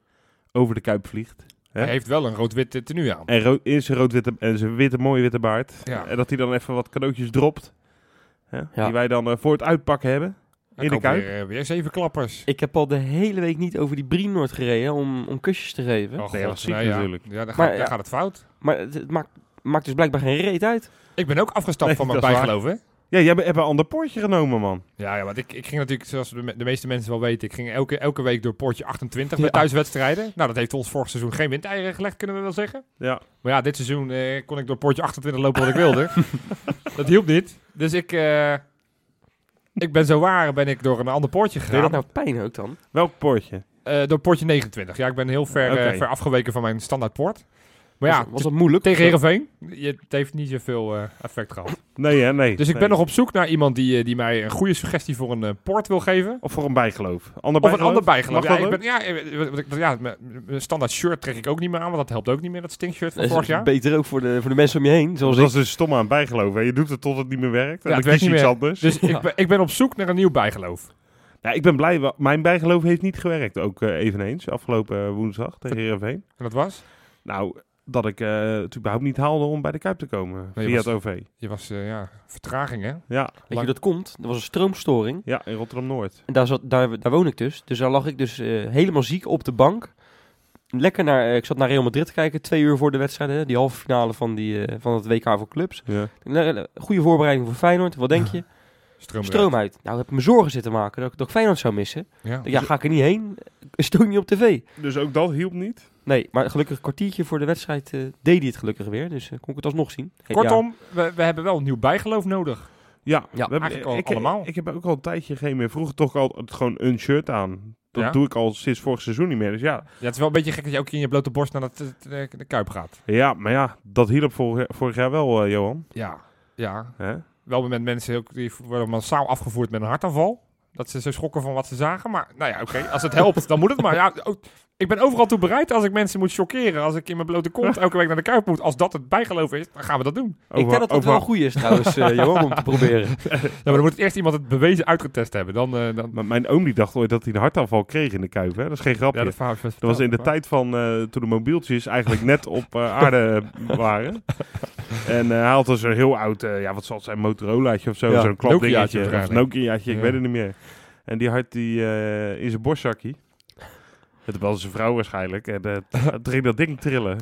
S2: over de kuip vliegt. Hè?
S4: Hij heeft wel een rood-wit eh, tenue aan.
S2: En ro- in zijn rood-witte en zijn witte, mooie witte baard.
S4: Ja.
S2: En dat hij dan even wat cadeautjes dropt. Hè?
S3: Ja.
S2: Die wij dan eh, voor het uitpakken hebben.
S4: Hij
S2: in de
S4: koopt
S2: Kuip.
S4: Weer, eh, weer zeven klappers.
S3: Ik heb al de hele week niet over die Brienoord gereden om, om kusjes te geven.
S4: Oh,
S2: Nee,
S4: god,
S2: dat is ziek
S4: nee, ja.
S2: natuurlijk.
S4: Ja, dan,
S3: Maar
S4: gaat, dan
S3: ja.
S4: gaat het fout.
S3: Maar het, het maakt, maakt dus blijkbaar geen reet uit.
S4: Ik ben ook afgestapt
S2: Nee,
S4: van mijn
S2: dat is waar.
S4: bijgeloof, hè?
S2: Ja, jij hebt een ander poortje genomen, man.
S4: Ja, ja, want ik, ik ging natuurlijk, zoals de, me- de meeste mensen wel weten, ik ging elke, elke week door poortje 28 met
S3: Ja.
S4: thuiswedstrijden. Nou, dat heeft ons vorig seizoen geen windeieren gelegd, kunnen we wel zeggen.
S2: Ja.
S4: Maar ja, dit seizoen eh, kon ik door poortje 28 lopen wat ik wilde. dat hielp niet. Dus ik, eh, ik ben zo waar ben ik door een ander poortje
S3: Doe je
S4: gegaan.
S3: dat nou pijn ook dan?
S2: Welk poortje?
S4: Eh, door poortje 29. Ja, ik ben heel ver, eh,
S2: Oké.
S4: ver afgeweken van mijn standaard poort. Maar
S3: was,
S4: ja,
S3: was
S4: te-
S3: dat moeilijk?
S4: tegen Heerenveen, je, het heeft niet zoveel eh, effect gehad.
S2: Nee, hè? Nee.
S4: Dus ik
S2: Nee.
S4: ben nog op zoek naar iemand die, eh, die mij een goede suggestie voor een eh, poort wil geven.
S2: Of voor een bijgeloof. Ander
S4: Of een ander bijgeloof.
S2: Mag
S4: Ja,
S2: dat
S4: ik ben, ja, eh, wat ik- ja, mijn- mijn standaard shirt trek ik ook niet meer aan, want dat helpt ook niet meer, dat stinkshirt van
S3: Dat is
S4: vorig jaar.
S3: Beter ook voor de, voor de mensen om je heen, zoals
S2: Dat
S3: ik.
S2: is dus stom aan bijgeloof. Hè? Je doet het tot het niet meer werkt. En
S4: Ja,
S2: dan
S4: het werkt
S2: kies je
S4: niet
S2: iets
S4: meer.
S2: anders.
S4: Dus
S3: Ja.
S4: ik, ben, ik ben op zoek naar een nieuw bijgeloof.
S2: Ja, ik ben blij. wa- Mijn bijgeloof heeft niet gewerkt. Ook eh, eveneens, afgelopen eh, woensdag tegen Heerenveen.
S4: En dat was?
S2: Nou, dat ik eh, het überhaupt niet haalde om bij de Kuip te komen.
S4: Nee, je
S2: via
S4: was-
S2: het OV.
S4: Je was, eh, ja, vertraging hè?
S2: Ja,
S3: Weet je hoe dat komt? Er was een stroomstoring.
S2: ja in Rotterdam-Noord.
S3: En daar, zat, daar, daar woon ik dus. Dus daar lag ik dus eh, helemaal ziek op de bank. Lekker naar, eh, ik zat naar Real Madrid te kijken, twee uur voor de wedstrijd. Hè, die halve finale van, die, eh, van het WK voor clubs.
S2: Ja.
S3: Le- le- eh, Goede voorbereiding voor Feyenoord, wat denk je?
S4: Stroom.
S3: Stroom uit. Nou, heb ik me zorgen zitten maken dat ik, dat ik Feyenoord zou missen.
S4: Ja.
S3: Ja, ga ik er niet heen? Stoot niet op tv.
S2: Dus ook dat hielp niet.
S3: Nee, maar gelukkig een kwartiertje voor de wedstrijd eh, deed hij het gelukkig weer. Dus eh, kon ik het alsnog zien. Hey, ja.
S4: Kortom, we, we hebben wel een nieuw bijgeloof nodig.
S2: Ja,
S3: Ja,
S2: we hebben,
S4: eigenlijk al
S2: ik,
S4: allemaal.
S2: Ik, heb ook al een tijdje geen meer. Vroeger toch al het- gewoon een shirt aan. Dat
S4: Ja.
S2: doe ik al sinds vorig seizoen niet meer. Dus ja,
S4: Ja, het is wel een beetje gek dat je ook in je blote borst naar dat, eh, eh, de Kuip gaat.
S2: ja maar ja, dat hielp vorig, vorig jaar wel, eh, Johan.
S4: Ja. Ja.
S2: Hè?
S4: Wel met mensen ook, die worden massaal afgevoerd met een hartaanval. Dat ze zo schrokken van wat ze zagen. Maar nou ja, oké. Als het helpt, dan moet het maar. Ja, ook- ik ben overal toe bereid als ik mensen moet chockeren. Als ik in mijn blote kont elke week naar de Kuip moet. Als dat het bijgeloof is, dan gaan we dat doen.
S3: ik denk dat dat wel goed is trouwens, eh, Johan, om te proberen.
S4: Ja, maar dan moet eerst iemand het bewezen uitgetest hebben. Dan, eh, dan,
S2: Maar mijn oom die dacht ooit dat hij een hartaanval kreeg in de Kuip. Hè? Dat is geen grapje.
S4: ja,
S2: dat,
S4: dat verhaal is best
S2: was in de
S4: verteld,
S2: tijd van eh, toen de mobieltjes eigenlijk net op eh, aarde waren. En eh, hij had dus een heel oud, eh, ja wat zal het zijn, Motorolaatje of zo.
S3: Ja,
S2: Zo'n klapdingetje.
S4: Nokiaatje
S2: Of
S4: waarschijnlijk.
S2: Nokiaatje, ik
S4: Ja.
S2: weet het niet meer. En die had die eh, in zijn borstzakje. Het was zijn vrouw waarschijnlijk. En eh, het ging dat ding trillen.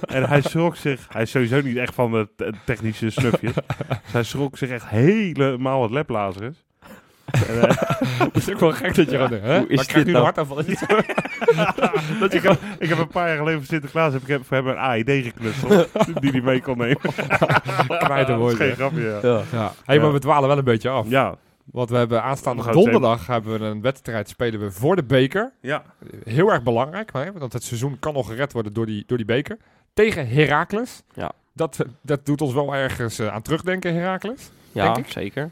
S2: en hij schrok zich. Hij is sowieso niet echt van de te- technische snufjes. Dus hij schrok zich echt helemaal het leplazers. En, eh,
S4: maar Het is ook wel gek dat je gaat denken, hè?
S3: Hoe is
S4: Maar ik krijg
S3: dit
S4: nu een
S3: nou?
S4: hartaanval. Is het-
S2: ik, heb, ik heb een paar jaar geleden voor Sinterklaas heb ik voor hem een AED geknutseld. die hij mee kon nemen.
S4: Kwijt een
S2: dat is
S4: woordje.
S2: geen grapje. Ja.
S3: Ja.
S4: Ja. Hey, maar
S2: Ja.
S4: we dwalen wel een beetje af.
S2: Ja,
S4: Want we hebben aanstaande
S2: We gaan het
S4: donderdag hebben we een wedstrijd spelen we voor de beker.
S2: ja.
S4: Heel erg belangrijk, hè, want het seizoen kan nog gered worden door die, door die beker. Tegen Heracles.
S3: Ja.
S4: Dat, dat doet ons wel ergens eh, aan terugdenken, Heracles.
S3: Ja,
S4: Denk
S3: zeker.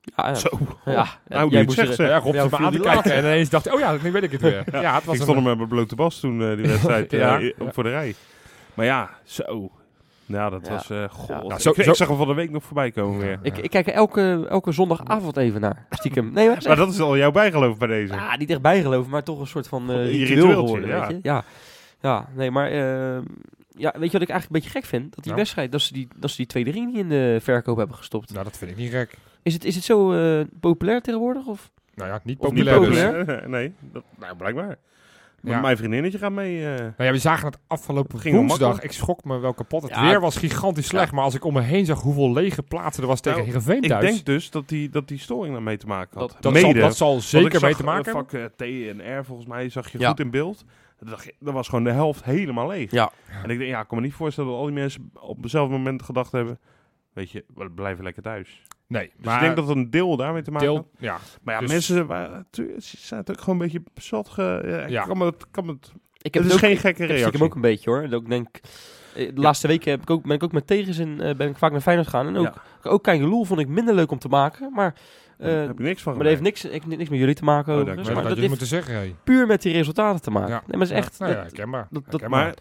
S3: Ja, ja.
S2: Zo.
S3: Ja,
S2: Nou, die
S3: jij
S2: het
S3: moest
S2: zegt,
S3: er-
S2: zeg.
S4: Ja, Rob
S3: jou
S4: zat me
S3: viel
S4: aan te
S3: die
S4: kijken
S3: laatste.
S4: en ineens dacht ik, oh ja, nu weet ik het weer. ja, het was
S2: ik
S4: een-
S2: stond hem met mijn blote bas toen eh, die wedstrijd eh,
S4: Ja.
S2: i- op voor de rij. Maar ja, zo. Ja, dat
S3: Ja.
S2: was... eh goh,
S3: Ja.
S4: Nou,
S2: ik-
S4: zo-
S2: ik,
S4: zo-
S2: zag hem van de week nog voorbij komen weer.
S3: Ik, ik kijk er elke, elke zondagavond even naar, stiekem. Nee, maar, dat is
S2: Maar dat is al jouw bijgeloof bij deze.
S3: Ah, niet echt bijgeloven, maar toch een soort van eh
S2: Een
S3: ritueel
S2: ritueeltje,
S3: geworden,
S2: ja.
S3: weet je? Ja. ja, nee, maar ehm, ja, weet je wat ik eigenlijk een beetje gek vind? Dat die
S4: Nou?
S3: wedstrijd, dat ze die, dat ze die tweede ring niet in de verkoop hebben gestopt.
S4: Nou, dat vind ik niet gek.
S3: Is het, is het zo eh, populair tegenwoordig? Of?
S4: Nou ja, niet
S2: Of
S4: populair.
S2: niet
S4: dus.
S3: populair.
S2: populair? nee, dat, nou blijkbaar. Maar
S4: Ja.
S2: Mijn vriendinnetje gaat mee. eh,
S4: Nou ja, we zagen het afgelopen
S2: Ging wel
S4: woensdag.
S2: makkelijk.
S4: Ik schrok me wel kapot. Het
S3: Ja,
S4: weer
S3: het-
S4: was gigantisch slecht. Maar als ik om me heen zag hoeveel lege plaatsen er was tegen
S2: Nou,
S4: Heerenveen
S2: ik
S4: thuis.
S2: denk dus dat die, dat die storing daarmee te maken had.
S4: dat,
S2: Mede.
S4: zal, dat zal
S2: Want ik
S4: zeker
S2: zag,
S4: mee te maken
S2: eh,
S4: hebben.
S2: vak eh, T en R volgens mij zag je
S3: Ja.
S2: goed in beeld. Dan dacht je, Dat was gewoon de helft helemaal leeg.
S3: Ja.
S2: En ik denk, ja, ik kan me niet voorstellen dat al die mensen op hetzelfde moment gedacht hebben. Weet je, we blijven lekker thuis. Dus
S4: Nee,
S2: ik denk dat het een deel daarmee te maken had.
S4: deel, ja,
S2: Maar ja,
S4: dus-
S2: mensen waren, tu- ze zaten ook gewoon een beetje zat. Ge, ja, ik
S4: Ja.
S2: Kan me het, kan me het, het
S3: Ik het
S2: is
S3: ook-
S2: geen gekke
S3: ik heb stiekem
S2: reactie.
S3: ook een beetje hoor. Dat ik denk, eh, de laatste weken heb ik ook, ben ik ook met tegenzin eh, ben ik vaak naar Feyenoord gegaan. En ook, ook Kein Loel vond ik minder leuk om te maken. Maar, eh,
S2: Daar heb ik niks van
S3: maar dat heeft niks, ik, niks met jullie te maken.
S2: Oh,
S3: overigens,
S2: dank
S4: maar
S2: je.
S3: maar
S4: dat
S3: dat
S4: had je
S3: heeft
S4: moeten zeggen. Hey.
S3: puur met die resultaten te maken.
S4: Ja.
S3: Nee, maar dat is echt...
S4: Nou ja,
S3: dat-
S4: herkenbaar.
S3: dat- dat-
S4: Herkenbaar.
S2: Maar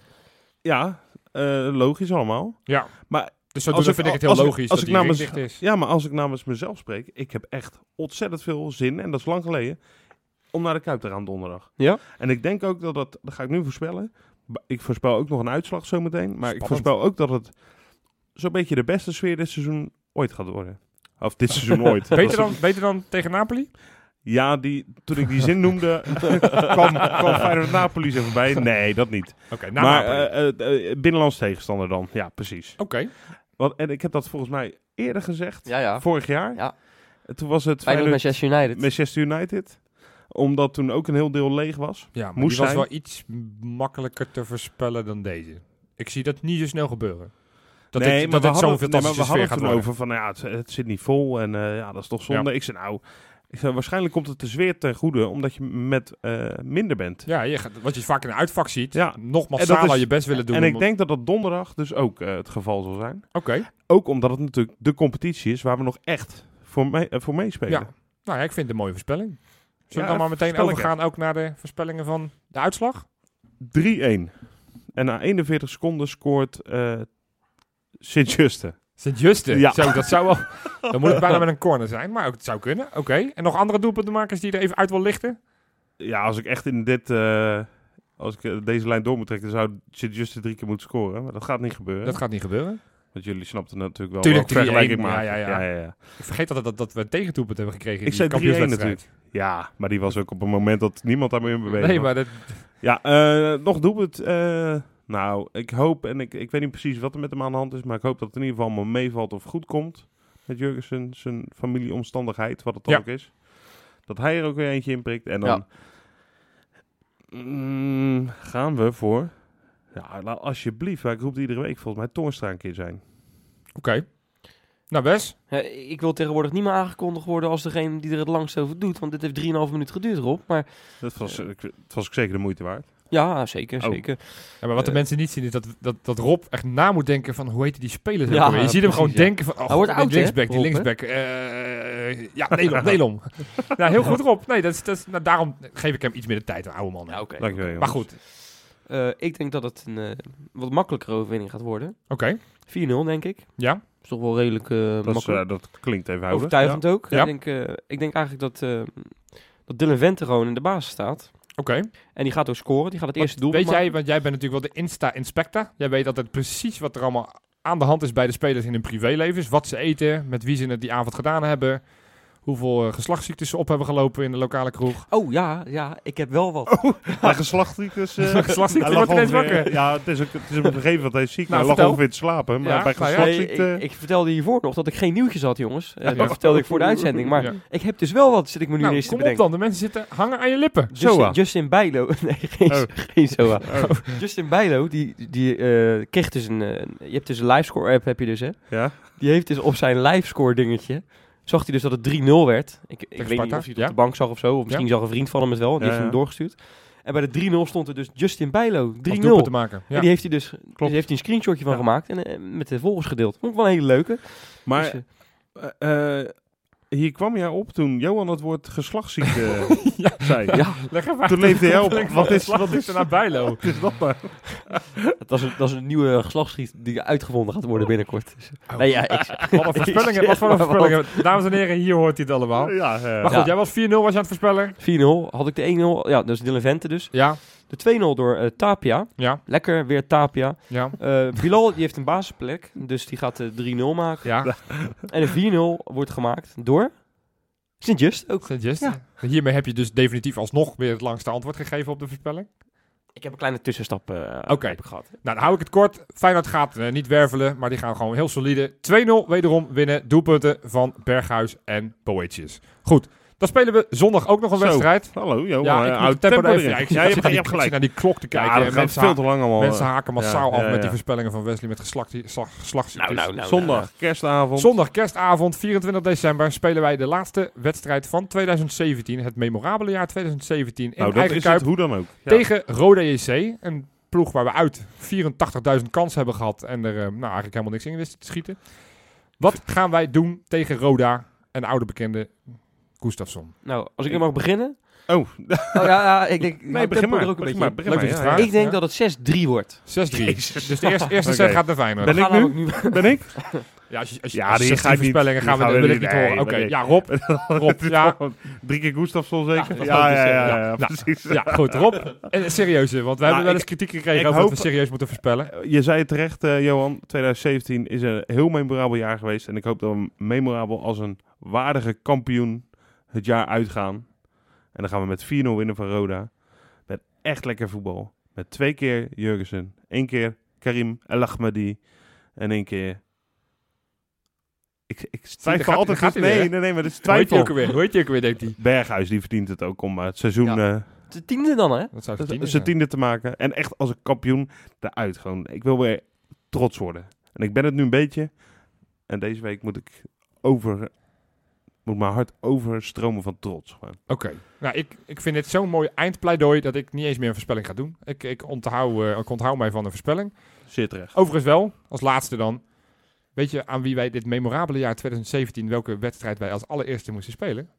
S2: ja, eh, logisch allemaal.
S4: Ja.
S2: Maar
S4: dus
S2: als
S4: zodoende
S2: ik-
S4: vind ik het heel
S2: als ik-
S4: logisch
S2: als
S4: dat
S2: ik
S4: die ring
S2: namens-
S4: dicht is.
S2: Ja, maar als ik namens mezelf spreek, ik heb echt ontzettend veel zin, en dat is lang geleden, om naar de Kuip te gaan donderdag.
S3: Ja.
S2: En ik denk ook dat dat, dat ga ik nu voorspellen, b- ik voorspel ook nog een uitslag zometeen, maar ik
S4: Spannend.
S2: voorspel ook dat het zo'n beetje de beste sfeer dit seizoen ooit gaat worden. Of dit seizoen ooit.
S4: Beter dan, beter dan tegen Napoli?
S2: Ja, die, toen ik die zin noemde, kwam, kwam Feyenoord Napoli er voorbij. Nee, dat niet.
S4: Oké, na
S2: maar
S4: Napoli.
S2: eh, eh, eh, binnenlands tegenstander dan. Ja, precies.
S4: Oké.
S2: Want, en ik heb dat volgens mij eerder gezegd,
S3: Ja, ja.
S2: vorig jaar.
S3: Ja.
S2: En Toen was het
S3: Feyenoord,
S2: Feyenoord-
S3: Manchester United.
S2: Manchester United. Omdat toen ook een heel deel leeg was.
S4: Ja, maar
S2: Moest
S4: die was
S2: zijn.
S4: wel iets makkelijker te voorspellen dan deze. Ik zie dat niet zo snel gebeuren. Dat dit, dat dit zo'n
S2: nee, maar
S4: fantastische
S2: we hadden
S4: sfeer
S2: het
S4: gaat
S2: toen
S4: worden.
S2: over van, nou ja, het, het zit niet vol en eh, ja, dat is toch zonde. Ik zei nou, ik zei, waarschijnlijk komt het de sfeer ten goede, omdat je met eh, minder bent.
S4: Ja, je gaat, wat je vaak in een uitvak ziet,
S2: Ja.
S4: nog
S2: dat
S4: massaler
S2: is-
S4: je best willen doen.
S2: en ik
S4: om-
S2: denk dat dat donderdag dus ook eh, het geval zal zijn.
S4: Oké,
S2: Ook omdat het natuurlijk de competitie is waar we nog echt voor, mee, eh, voor meespelen.
S4: ja. Nou ja, ik vind het een mooie voorspelling. Zullen
S2: Ja,
S4: we dan maar meteen
S2: voorspellingen.
S4: overgaan ook naar de voorspellingen van de uitslag?
S2: 3-1. En na 41 seconden scoort eh Sint-Juste.
S4: Sint-Juste.
S2: Ja.
S4: Zo, dat zou wel... Dan moet het bijna met een corner zijn, maar ook, het zou kunnen. Oké. En nog andere doelpuntenmakers die je er even uit wil lichten?
S2: Ja, als ik echt in dit... eh, als ik eh, deze lijn door moet trekken, dan zou Sint-Juste drie keer moeten scoren. Maar dat gaat niet gebeuren.
S4: Dat gaat niet gebeuren.
S2: Want jullie snapten natuurlijk wel
S4: Tuurlijk,
S2: welke vergelijking
S4: 3-1.
S2: maken.
S4: Ja, ja,
S2: ja.
S4: ja.
S2: ja, ja.
S4: Ik vergeet altijd dat, dat we een tegentoepunt hebben gekregen. in
S2: Ik zei
S4: die
S2: 3-1
S4: kampioenswedstrijd.
S2: natuurlijk. Ja, maar die was ook op een moment dat niemand daarmee in beweging
S4: Nee,
S2: was.
S4: maar dat,
S2: Ja, eh, nog doelpunt. eh nou, ik hoop, en ik, ik weet niet precies wat er met hem aan de hand is, maar ik hoop dat het in ieder geval me meevalt of goed komt. Met Jurgensen, zijn familieomstandigheid, wat het dan
S4: Ja.
S2: ook is. Dat hij er ook weer eentje in prikt. En dan Mm, gaan we voor, ja, la- alsjeblieft, maar ik roep het iedere week volgens mij Toornstra een keer zijn.
S4: Oké. Nou, Wes,
S3: Ja, ik wil tegenwoordig niet meer aangekondigd worden als degene die er het langst over doet. Want dit heeft 3,5 minuten geduurd, Rob. Maar
S2: Dat was, eh, ik- het was ook zeker de moeite waard.
S3: ja, zeker,
S2: Oh.
S3: zeker.
S4: Ja, maar wat de
S3: Eh.
S4: mensen niet zien is dat, dat, dat Rob echt na moet denken van hoe heet die spelers
S3: Ja,
S4: ook alweer. Je ziet hem
S3: precies,
S4: gewoon
S3: ja.
S4: denken van oh,
S3: Hij wordt
S4: die
S3: oud, hè,
S4: linksback, die
S3: Rob, hè?
S4: linksback. eh, ja, Nelom, Nelom. nou, heel goed Rob. Nee, dat is, dat is, nou, daarom geef ik hem iets meer de tijd, een oude man.
S3: Ja, oké.
S2: Dankjewel. jongens.
S4: maar goed, oké.
S3: Eh, ik denk dat het een eh, wat makkelijkere overwinning gaat worden. 4-0, denk ik.
S4: Ja,
S3: Is toch wel redelijk eh,
S2: Dat, is,
S3: makkelijk.
S2: eh, dat klinkt even houden.
S3: Overtuigend ook.
S4: Ja.
S3: Ik, denk, eh, ik denk eigenlijk dat, eh, dat Dylan Vente gewoon in de basis staat.
S4: oké.
S3: En die gaat ook scoren. Die gaat het eerste doel
S4: Weet
S3: maken.
S4: jij, want jij bent natuurlijk wel de Insta-inspector. Jij weet altijd precies wat er allemaal aan de hand is bij de spelers in hun privélevens. Wat ze eten, met wie ze het die avond gedaan hebben. Hoeveel eh, geslachtsziektes ze op hebben gelopen in de lokale kroeg.
S3: Oh ja, ja, ik heb wel wat.
S4: Oh,
S2: Maar geslachticus... eh,
S4: Geslachtsziekte
S2: hij lag
S4: wordt ineens
S2: ongeveer-
S4: wakker.
S2: eh, Ja, het is, ook, het is op een gegeven moment hij is ziek.
S4: Nou,
S2: maar hij lag
S4: vertel.
S2: ongeveer te slapen. Maar
S4: Ja,
S2: bij
S4: nou ja.
S3: Nee,
S2: geslachtsziekte...
S3: ik, ik vertelde hiervoor nog dat ik geen nieuwtjes had, jongens. Eh,
S4: Ja.
S3: Dat vertelde ik voor de uitzending. Maar
S4: Ja.
S3: ik heb dus wel wat, zit ik me nu
S4: Nou,
S3: eens te
S4: kom op
S3: bedenken.
S4: dan. De mensen zitten hangen aan je lippen.
S3: Justin,
S2: Zoa.
S3: Justin Bijlo. Nee, geen,
S2: Oh.
S3: geen Zoa.
S2: Oh,
S3: Justin Bijlo, die, die eh, kreeg dus een... eh, je hebt dus een livescore app, heb je dus, hè?
S2: ja.
S3: Die heeft dus op zijn livescore dingetje... Zag hij dus dat het 3-0 werd. Ik,
S4: Tegen
S3: ik weet niet of
S4: Sparta,
S3: hij het op
S4: ja.
S3: de bank zag of zo. Of misschien zag een vriend van hem het wel. Die
S2: Ja,
S3: heeft hem
S2: ja.
S3: doorgestuurd. En bij de 3-0 stond er dus Justin Bijlo. 3-0.
S4: Als doelpunt te maken. Ja.
S3: En die heeft hij dus dus heeft hij een screenshotje van
S2: Ja.
S3: gemaakt. En eh, met de volgers gedeeld. Vond ik wel een hele leuke.
S2: Maar
S3: Dus, eh,
S2: eh, eh, hier kwam jij op toen Johan het woord geslachtsziekte zei.
S3: ja,
S4: Leg even
S2: Toen leefde hij op. Wat is, wat
S4: Slachtoffer
S2: is,
S4: naar Bijlo?
S2: wat is dat nou?
S3: dat is, een, dat is een nieuwe geslachtsgiet die uitgevonden gaat worden binnenkort. Dus, nee, ja, ik,
S4: Oh. Wat een voorspellingen, wat voor een
S3: Ik zeg maar
S4: voorspellingen. Dames en heren, hier hoort hij het allemaal.
S2: Ja, eh,
S4: Maar goed,
S3: Ja.
S4: jij was 4-0, was je aan het voorspellen?
S3: 4-0. Had ik de 1-0. Ja, dat is Dylan Vente dus.
S4: Ja,
S3: De 2-0 door eh, Tapia.
S4: ja,
S3: Lekker, weer Tapia.
S4: ja,
S3: Eh, Bilal die heeft een basisplek. Dus die gaat de 3-0 maken.
S4: ja.
S3: En de 4-0 wordt gemaakt door... Sint-Just ook.
S4: St. Just. Hiermee heb je dus definitief alsnog weer het langste antwoord gegeven op de voorspelling.
S3: Ik heb een kleine tussenstap eh
S4: Oké.
S3: heb ik gehad.
S4: Nou, dan hou ik het kort. Feyenoord gaat eh, niet wervelen, maar die gaan gewoon heel solide 2-0 wederom winnen. Doelpunten van Berghuis en Boetjes. Goed, dan spelen we zondag ook nog een
S2: Zo.
S4: wedstrijd.
S2: Hallo Johan,
S4: Ja, ik
S2: eh,
S4: moet
S2: houd
S4: het tempo er even-
S2: erin.
S4: ja, ik zit-
S2: Ja,
S4: ik
S2: je
S4: zit
S2: hebt-
S4: naar
S2: je
S4: die-
S2: hebt
S4: ik zit
S2: gelijk.
S4: naar die klok te kijken.
S2: Ja,
S4: en
S2: dat gaat
S4: mensen
S2: veel te lang allemaal.
S4: Mensen
S2: eh.
S4: haken massaal
S2: Ja,
S4: af
S2: ja,
S4: met die
S2: ja.
S4: voorspellingen van Wesley met geslactie- slag-
S3: Nou,
S4: slagziektes.
S3: nou, nou.
S2: Zondag, kerstavond.
S4: Zondag, kerstavond, 24 december, spelen wij de laatste wedstrijd van 2017. Het memorabele jaar 2017 in
S2: nou, dat
S4: eigen
S2: is
S4: Kuip
S2: het hoe dan ook. Ja.
S4: tegen Rode JC. Een ploeg waar we uit 84.000 kansen hebben gehad en er eh, nou, eigenlijk helemaal niks in wisten te schieten. Wat gaan wij doen tegen Roda en oude bekende Gustafsson?
S3: Nou, als ik weer mag beginnen.
S2: Oh,
S3: Oh, ja, ja, ik denk...
S2: nee, begin maar.
S3: er ook een
S2: begin
S3: beetje.
S2: maar, begin
S4: Leuk
S2: maar,
S4: dat je
S2: ja,
S4: het
S2: ja.
S3: Ik denk
S4: Ja.
S3: dat het 6-3 wordt.
S4: 6-3.
S2: Jezus.
S4: Dus de eerste, eerste
S2: Oké.
S4: set gaat naar Feyenoord.
S2: Ben
S3: We
S2: ik
S3: gaan
S2: nu?
S3: namelijk nu?
S2: Ben ik?
S4: Ja, als je, als je,
S2: Ja,
S4: als je
S2: die
S4: 16
S2: ga ik niet-
S4: voorspellingen
S2: die
S4: gaan we,
S2: gaan we
S4: wil ik
S2: niet-
S4: niet
S2: nee,
S4: horen. Oké,
S2: nee.
S4: ja, Rob. Rob, ja.
S2: Drie keer Gustafsson zeker?
S3: Ja,
S2: Ja, ja,
S3: dus,
S2: ja,
S3: eh,
S2: ja,
S4: ja.
S2: ja, precies.
S4: Ja, goed, Rob. En serieus, want we hebben wel
S2: Nou, ik-
S4: eens kritiek gekregen
S2: ik
S4: over dat
S2: hoop-
S4: we serieus moeten voorspellen.
S2: Je zei het terecht, eh, Johan. 2017 is een heel memorabel jaar geweest. En ik hoop dat we memorabel als een waardige kampioen het jaar uitgaan. En dan gaan we met 4-0 winnen van Roda. Met echt lekker voetbal. Met twee keer Jurgensen. één keer Karim El Ahmadi. En één keer... Ik, ik
S4: daar gaat-
S2: twijfel altijd...
S4: daar gaat hij weer,
S2: nee,
S4: hè?
S2: nee, nee, maar dat is
S4: Hoe heet je
S2: twijfel.
S4: ook alweer? Hoe heet je ook alweer, denkt hij?
S2: Berghuis, die verdient het ook om eh, het seizoen...
S3: Ja.
S2: eh,
S3: De tiende dan, hè?
S4: Dat zou
S2: Dat- zijn
S4: het tiende
S2: tiende,
S4: zijn.
S2: te maken. En echt als een kampioen eruit. Gewoon, ik wil weer trots worden. En ik ben het nu een beetje. En deze week moet ik over... Moet mijn hart overstromen van trots. Gewoon.
S4: Oké. Nou, ik, ik vind dit zo'n mooi eindpleidooi dat ik niet eens meer een voorspelling ga doen. Ik, ik, onthoud, eh, ik onthoud mij van een voorspelling.
S2: Zit terecht.
S4: Overigens wel, als laatste dan. Weet je aan wie wij dit memorabele jaar 2017, welke wedstrijd wij als allereerste moesten spelen?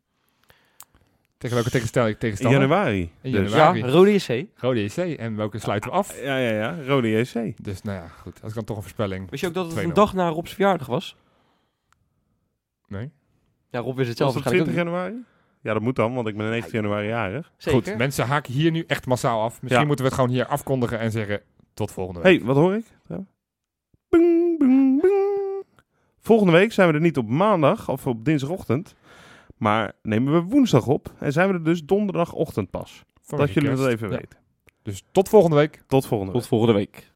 S4: Tegen welke tegenstelling?
S2: In
S4: tegenstander?
S2: januari.
S4: In
S2: dus.
S4: januari.
S3: Ja, Rode JC.
S4: Rode JC. En welke sluiten we af?
S2: Ja, ja, ja. Rode JC.
S4: Dus nou ja, goed. Dat is dan toch een voorspelling.
S3: Wist je ook dat het
S4: 2-0.
S3: een dag na Rob's verjaardag was?
S4: Nee.
S3: Ja, Rob is het zelf
S2: Was dat
S3: waarschijnlijk
S2: 20
S3: ook
S2: januari? Ja, dat moet dan, want ik ben 19 januari jarig.
S3: niet. Zeker.
S4: Goed, mensen haken hier nu echt massaal af. Misschien
S2: Ja.
S4: moeten we het gewoon hier afkondigen en zeggen tot volgende week.
S2: hey, wat hoor ik? Ja. Bing, bing, bing. Volgende week zijn we er niet op maandag of op dinsdagochtend. Maar nemen we woensdag op. En zijn we er dus donderdagochtend pas.
S4: Voor
S2: Dat
S4: een
S2: jullie dat
S4: Oh, kerst.
S2: even
S4: Ja.
S2: weten.
S4: Dus tot volgende week.
S2: Tot volgende week.
S3: volgende week.